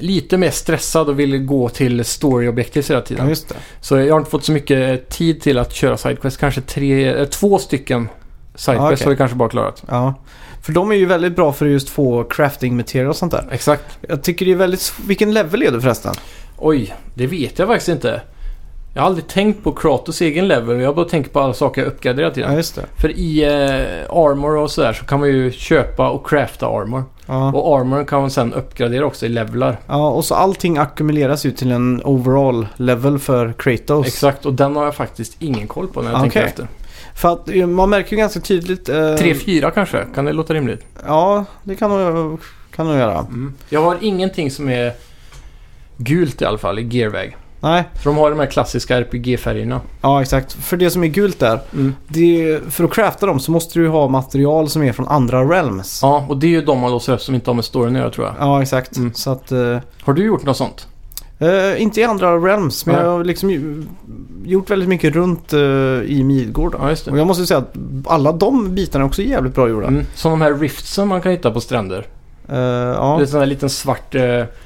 lite mer stressad och vill gå till story-objektiv hela Ja, tiden. just det. Så jag har inte fått så mycket eh, tid till att köra sidequest. Kanske tre, eh, två stycken sidequest Ah, okej. har vi kanske bara klarat. Ja. För de är ju väldigt bra för att just få crafting material och sånt där. Exakt. Jag tycker det är väldigt... sv- Vilken level är du förresten? Oj, det vet jag faktiskt inte. Jag har aldrig tänkt på Kratos egen level. Jag har bara tänkt på alla saker jag uppgraderar hela tiden. just det. För i eh, armor och sådär så kan man ju köpa och crafta armor. Ja. Och armor kan man sen uppgradera också i levelar. ja, och så allting ackumuleras ju till en overall level för Kratos. Exakt, och den har jag faktiskt ingen koll på när jag Ah, Okej. tänker efter. För att eh, man märker ju ganska tydligt... Eh, 3-4 kanske, kan det låta rimligt? Ja, det kan nog, kan nog göra. Jag har ingenting som är gult i alla fall i gearväg. Nej, För de har de här klassiska RPG-färgerna. ja exakt. För det som är gult där, det, för att crafta dem så måste du ju ha material som är från andra realms. Ja, och det är ju de man låser upp som inte har med storyn att göra tror jag. Ja, exakt. Mm. Så att... Eh, Har du gjort något sånt? eh, inte i andra realms, men Nej. jag har liksom ju- gjort väldigt mycket runt eh, i Midgård. då. Ja, just Och det. jag måste säga att alla de bitarna är också jävligt bra gjorda. Mm. Som de här riftsen man kan hitta på stränder. Eh, ja. Det är en sån där liten svart eh,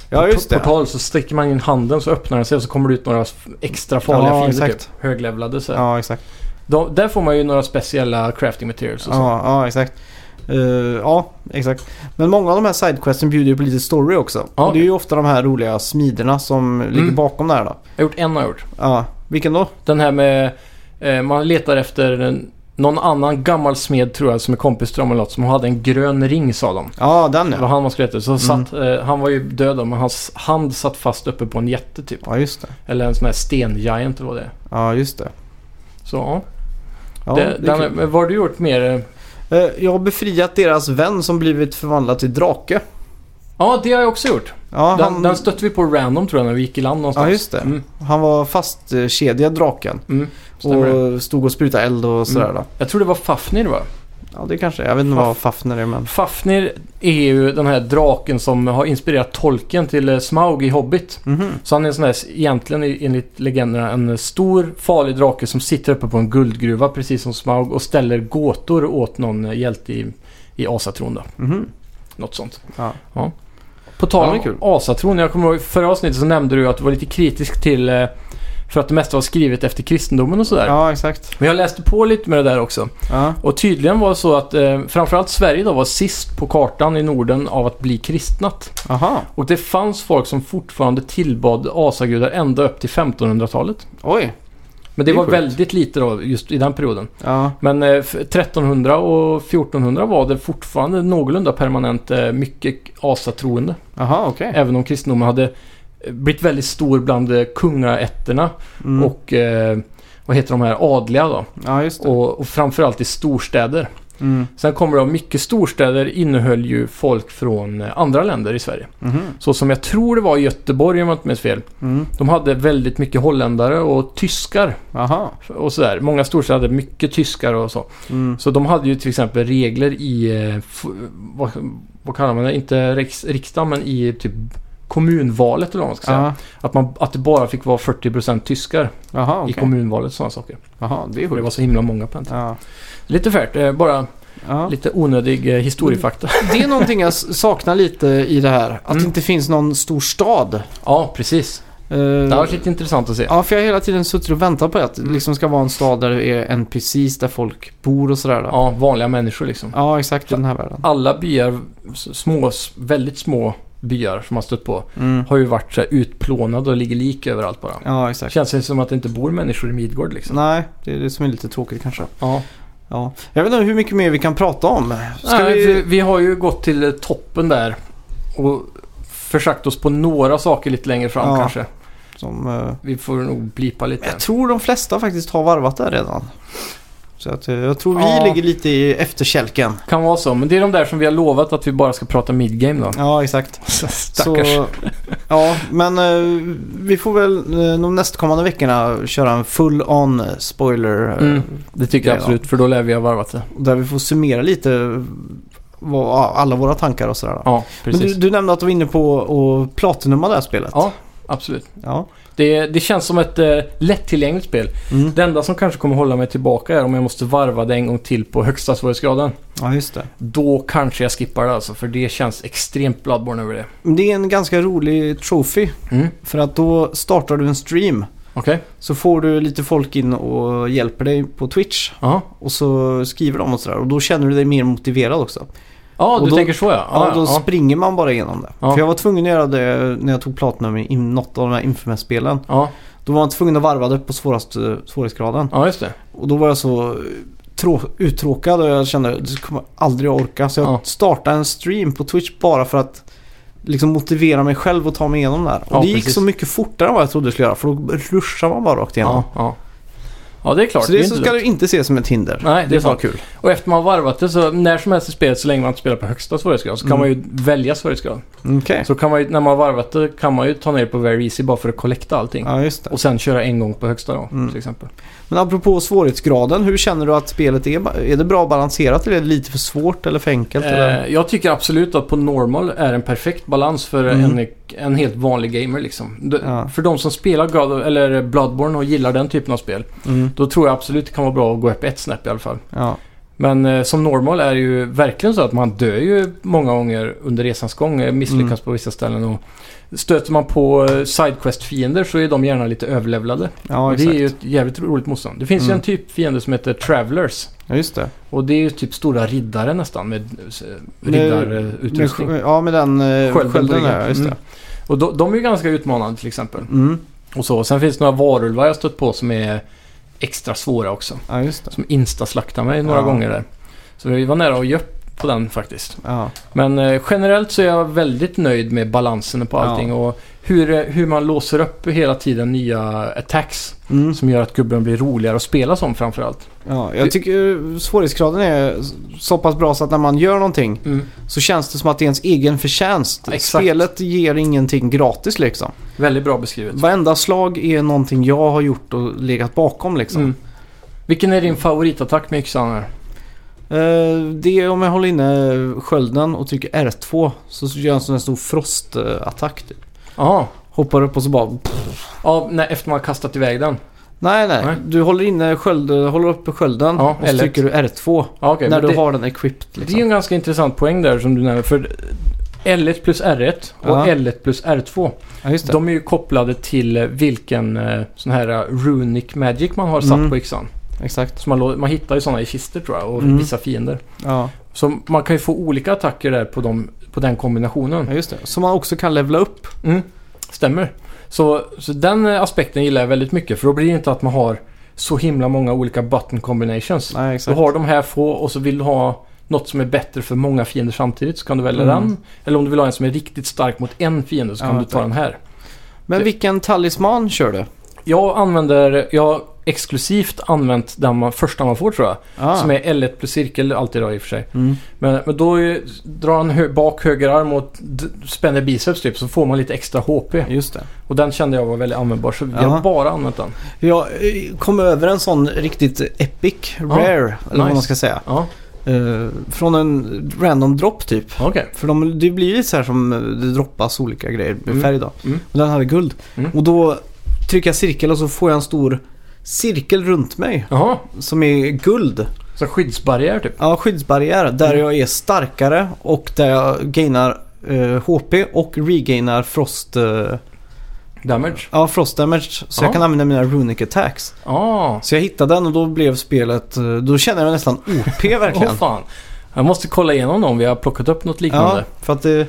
ja, just det. portal. Så sticker man in handen så öppnar den sig och så kommer det ut några f- extra farliga Ja, fiender. exakt. Typ. Höglevlade så här. Ja, exakt. De, Där får man ju några speciella crafting materials och så. Ja, ja, exakt. Eh, ja, exakt. Men många av de här sidequesten bjuder ju på lite story också. Ja. Mm. Och det är ju ofta de här roliga smiderna som ligger bakom det här då. Jag har gjort en har jag gjort. Ja, vilken då? Den här med... Eh, man letar efter en, någon annan gammal smed tror jag som är kompis till dem eller något som hade en grön ring sa de. Ja, den Det var ja. han man skulle leta efter. Så Mm. satt, eh, han var ju död då, men hans hand satt fast uppe på en jätte typ. Ja, just det. Eller en sån här stengiant eller vad det är. Ja, just det. Så ja. Ja, det, det är den, kul. men vad har du gjort mer? eh? Eh, jag har befriat deras vän som blivit förvandlad till drake. Ja, det har jag också gjort. Ja, Den, han, den stötte vi på random tror jag när vi gick i land någonstans. Ja, just det. Mm, han var fastkedjad draken. mm, stämmer det. Mm. Och stod och sprutade eld och sådär då. Jag tror det var Fafnir va? Ja, det kanske Jag vet inte vad Fafner är men... Fafnir är ju den här draken som har inspirerat tolken till eh, Smaug i Hobbit. Mhm. Så han är en sån här, egentligen enligt legenderna, en stor farlig drake som sitter uppe på en guldgruva precis som Smaug och ställer gåtor åt någon eh, hjälte i, i Asatron då. Mhm. Något sånt. Ja. På Ja, tal men om kul. Asatron, jag kommer ihåg i förra avsnittet så nämnde du att du var lite kritisk till eh, för att det mesta var skrivet efter kristendomen och sådär. Ja, exakt. Men jag läste på lite med det där också. Ja. Och tydligen var det så att eh, framförallt Sverige då var sist på kartan i Norden av att bli kristnat. Aha. Och det fanns folk som fortfarande tillbad asagudar ända upp till 1500-talet. Oj. Men det, Det är var sjukt. väldigt lite då, just i den perioden. Ja. Men eh, f- 1300 och 1400 var det fortfarande någorlunda permanent eh, mycket asatroende. Aha, okej. Även om kristendomen hade eh, blivit väldigt stor bland eh, kungaätterna Mm. och eh, vad heter de här adliga då? Ja, just det. Och, och framförallt i storstäder. Mm. Sen kommer det av mycket storstäder innehöll ju folk från eh, andra länder i Sverige. Mhm. Så som jag tror det var i Göteborg om jag inte minns fel. Mm. De hade väldigt mycket holländare och tyskar Aha. och sådär. Många storstäder hade mycket tyskar och så. Mm. Så de hade ju till exempel regler i, eh, f- vad, vad kallar man det, inte riks, riksdagen men i typ kommunvalet eller vad man ska säga. Ja. Att, man, att det bara fick vara 40% tyskar Jaha, okej. i kommunvalet och sådana saker. Jaha, det är Det sjukt. var så himla många på den tiden. Ja. Lite färt, eh, bara Ja. Mm. lite onödig eh, historiefakta. Det är någonting jag s- saknar lite i det här. Att det Mm. inte finns någon stor stad. Ja, precis. Eh, Det har varit lite intressant att se. Ja, för jag har hela tiden suttit och väntat på att det liksom ska vara en stad där det är NPCs, där folk bor och sådär. Då. Ja, vanliga människor liksom. ja, exakt i den här världen. Alla byar, s- små, s- väldigt små byar som man stött på, Mm. har ju varit så här utplånade och ligger lik överallt bara. Ja, exakt. Känns det som att det inte bor människor i Midgård liksom. Nej, det är det som är lite tråkigt kanske. Ja. Ja. Jag vet inte hur mycket mer vi kan prata om. Ska Nej, vi... vi... vi har ju gått till eh, toppen där och försökt oss på några saker lite längre fram Ja. kanske. Som, eh, Vi får nog blipa lite. jag tror de flesta faktiskt har varvat där redan. Så att, eh, jag tror vi Ja. ligger lite i efterkälken. Kan vara så, men det är de där som vi har lovat att vi bara ska prata midgame <laughs> då. Ja, exakt. Stackars. Så, ja, men eh, vi får väl eh, de nästkommande veckorna köra en full-on spoiler. eh, Mm, det tycker jag Ja. absolut, för då lär vi ha varvat det. Där vi får summera lite vad, alla våra tankar och sådär. Ja, men precis. du, du nämnde att du var inne på att platinumma det här spelet. Ja, absolut. Ja. Det, det känns som ett eh, lättillgängligt spel. Mm. Det enda som kanske kommer hålla mig tillbaka är om jag måste varva det en gång till på högsta svårighetsgraden. ja, just det. Då kanske jag skippar det alltså, för det känns extremt Bloodborne över det. Men Det är en ganska rolig trophy. Mm, För att då startar du en stream. okej. Så får du lite folk in och hjälper dig på Twitch. Ja. Och så skriver de och sådär. Och då känner du dig mer motiverad också. Ja, Och du då- tänker så ja. Ja, ja, då ja. springer man bara igenom det. Ja. För jag var tvungen att göra det när jag tog Platinum i något av de här Infamous-spelen. Ja, Då var man tvungen att varva det på svårast, eh, svårighetsgraden. ja, just det. Och då var jag så trå- uttråkad och jag kände att det kommer jag aldrig att orka. Så jag Ja. startade en stream på Twitch bara för att liksom motivera mig själv och ta mig igenom det här. Och Ja, det gick precis. så mycket fortare än vad jag trodde det skulle göra för då ruschar man bara rakt igenom. Ja, ja. ja det är klart. Så det, så är inte ska dumt. du inte se som ett hinder. Nej, det är bara sant. kul. Och efter man har varvat det så när som helst i spelet så länge man inte spelar på högsta svårighetsgrad så kan Mm. man ju välja svårighetsgrad. Okej. Så kan man ju, när man har varvat det kan man ju ta ner på very easy bara för att kollekta allting. Ja, just det. Och sen köra en gång på högsta då, Mm. till exempel. Men apropå svårighetsgraden, hur känner du att spelet är? ba- Är det bra balanserat eller är det lite för svårt eller för enkelt? eller? Eh, jag tycker absolut att på normal är en perfekt balans för Mm. en, en helt vanlig gamer liksom. D- Ja. För de som spelar God, of- eller Bloodborne och gillar den typen av spel, Mm. då tror jag absolut det kan vara bra att gå upp ett snäpp i alla fall. Ja. Men eh, som normal är det ju verkligen så att man dör ju många gånger under resans gång. eh, Misslyckas Mm. på vissa ställen. Och stöter man på eh, Sidequest-fiender så är de gärna lite överlevlade. Ja, och det är exakt. ju ett jävligt roligt motstånd. Det finns ju Mm. en typ fiende som heter Travelers. Ja, just det. Och det är ju typ stora riddare nästan med eh, riddarutrustning. Med, ja, med den eh, Skölden på skölden. ryggen. Ja, just det. Och de, de är ju ganska utmanande till exempel. Mm. Och så. Sen finns det några varulvar jag stött på som är extra svåra också. Ja, just det. Som instaslaktade mig några Ja. gånger där. Så vi var nära att ge upp på den faktiskt. Ja. Men eh, generellt så är jag väldigt nöjd med balansen på Ja. allting och hur, eh, hur man låser upp hela tiden nya attacks. Mm. Som gör att gubben blir roligare att spela som framförallt. Ja, jag tycker svårighetsgraden är så pass bra så att när man gör någonting Mm. så känns det som att det är ens egen förtjänst. Ja, exakt. Spelet ger ingenting gratis liksom. Väldigt bra beskrivet. Varenda slag är någonting jag har gjort och legat bakom liksom. Mm. Vilken är din favoritattack med yxan här? Eh, det är om jag håller inne skölden och trycker R2 så gör jag en sån här stor frostattack. Typ. Jaha. Hoppar upp och så bara... Ja, när, efter man har kastat iväg den. Nej, nej. Nej. Du håller inne sköld, håller uppe skölden Ja, och så L1. trycker du R2 Ja, okej, när men du det, har den equipped. det är ju Liksom. en ganska intressant poäng där som du nämner. För L1 plus R1 och Ja. L1 plus R2. Ja, just det. De är ju kopplade till eh, vilken eh, sån här eh, runic magic man har satt Mm. på yxan. Exakt. Så man, lå- man hittar ju sådana i kister tror jag och Mm. vissa fiender. Ja. Så man kan ju få olika attacker där på, dem, på den kombinationen. ja, just det. Som man också kan levla upp. Mm. Stämmer. Så, så den eh, aspekten gillar jag väldigt mycket för då blir det inte att man har så himla många olika button combinations. Nej, Du exakt. har de här få och så vill du ha något som är bättre för många fiender samtidigt så kan du välja Mm. den. Eller om du vill ha en som är riktigt stark mot en fiende så Ja, kan du ta tack. den här. Men vilken talisman kör du? Jag använder, jag har exklusivt använt den man, första man får tror jag. Ah. Som är L1 plus cirkel alltid då i och för sig. Mm. Men, men då är, drar han hö, bak höger arm och d- spänner biceps typ så får man lite extra HP. Just det. Och den kände jag var väldigt användbar så jag Jaha. har bara använt den. Jag eh, kom över en sån riktigt epic, rare, eller vad nice. man ska säga. Ja, Eh, från en random drop typ. okej. För de, det blir lite så här som eh, det droppas olika grejer med Mm. färg då. Mm. Och den hade guld. Mm. Och då trycker jag cirkel och så får jag en stor cirkel runt mig Jaha, som är guld. så skyddsbarriär typ. Ja, skyddsbarriär där Mm. jag är starkare och där jag gainar eh, HP och regainar frost, eh, Damage. ja, frost damage. Så Ja. jag kan använda mina runic attacks. Ah. Så jag hittade den och då blev spelet, eh, då kände jag mig nästan OP <laughs> Åh verkligen. fan. Jag måste kolla igenom dem. Vi har plockat upp något ja, liknande. för att det,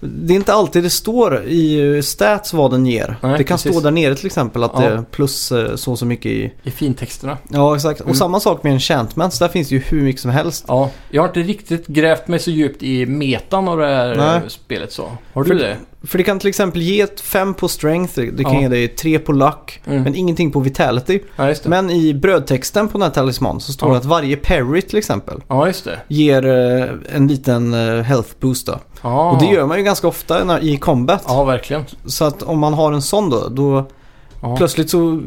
det är inte alltid det står i eh, stats vad den ger. Nej, det kan precis. stå där nere till exempel att Ja. det är plus eh, så och så mycket i... I fintexterna. Ja, exakt. Och Mm. samma sak med enchantments, där finns det ju hur mycket som helst. Ja, jag har inte riktigt grävt mig så djupt i metan av det här Nej. eh, spelet så. Har du För- det? För det kan till exempel ge 5 på strength, det kan Ja. ge dig 3 på luck, Mm. men ingenting på vitality. ja, just det. Men i brödtexten på den här talisman så står Ja. det att varje parry till exempel Ja, just det. ger eh, en liten eh, health boost då. Ah. Och det gör man ju ganska ofta när, i combat. Ja, verkligen. Så att om man har en sån då, då Ja. plötsligt så...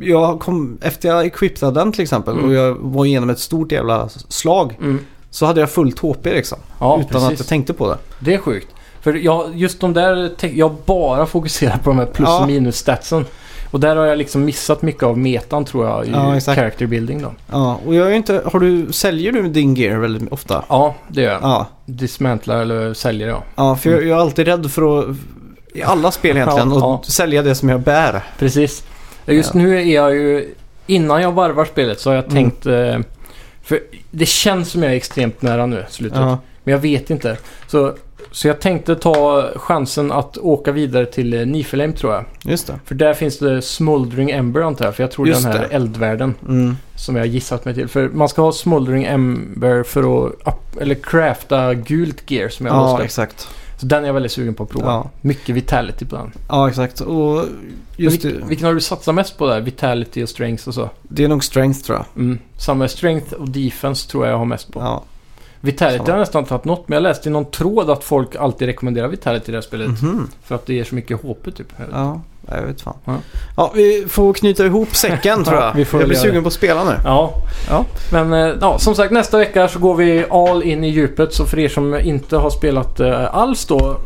Jag kom, efter jag equippade den till exempel Mm. och jag var igenom ett stort jävla slag Mm. så hade jag fullt HP liksom. Ja, utan precis. att jag tänkte på det. Det är sjukt. För jag, just de där, te- jag bara fokuserar på de här plus Ja. och minus statsen. Och där har jag liksom missat mycket av metan tror jag i Ja, exakt. character building då. Ja, och jag är ju inte... Har du, säljer du din gear väldigt ofta? Ja, det gör jag. Ja. Dismantlar eller säljer jag. Ja, för jag, jag är alltid rädd för att... I alla spel egentligen, Mm. Ja, och ja. sälja det som jag bär. Precis. Just nu är jag ju... Innan jag varvar spelet så har jag Mm. tänkt... Eh, för det känns som jag är typ. extremt nära nu, slutet. Ja. Men jag vet inte. Så, så jag tänkte ta chansen att åka vidare till eh, Niflheim tror jag. Just det. För där finns det Smoldering Ember antar jag. För jag tror det är Just den här det. eldvärlden Mm. som jag har gissat mig till. För man ska ha Smoldering Ember för att... up- Eller crafta gult gear som jag Ja, har ja, exakt. Så den är jag väldigt sugen på att prova. Ja. Mycket vitality på den. ja, exakt. Och just Vilk- det, Vilken har du satsat mest på där? Vitality och strength och så? det är nog strength tror jag. Mm. Samma strength och defense tror jag jag har mest på. Ja. Vitality Samma. har jag nästan tagit något, men jag läste i någon tråd att folk alltid rekommenderar Vitality i det här spelet. Mhm. För att det ger så mycket HP typ. Ja, ja, jag vet fan. Ja. Ja. vi får knyta ihop <laughs> säcken tror jag. Ja, vi får jag blir väl göra sugen på att spela nu. ja. Ja. men eh, ja, som sagt nästa vecka så går vi all in i djupet. Så för er som inte har spelat eh, alls då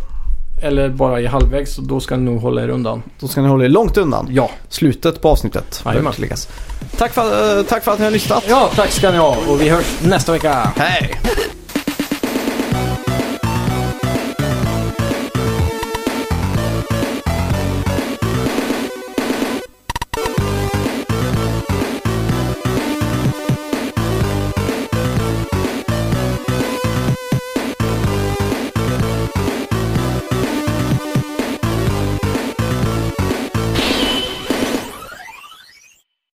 eller bara är halvvägs, och då ska ni nog hålla er undan. Då ska ni hålla er långt undan. Ja. Slutet på avsnittet. Jajamän. bör tilläggas. Tack för, eh, tack för att ni har lyssnat. Ja, tack ska ni ha och vi hörs nästa vecka. Hej!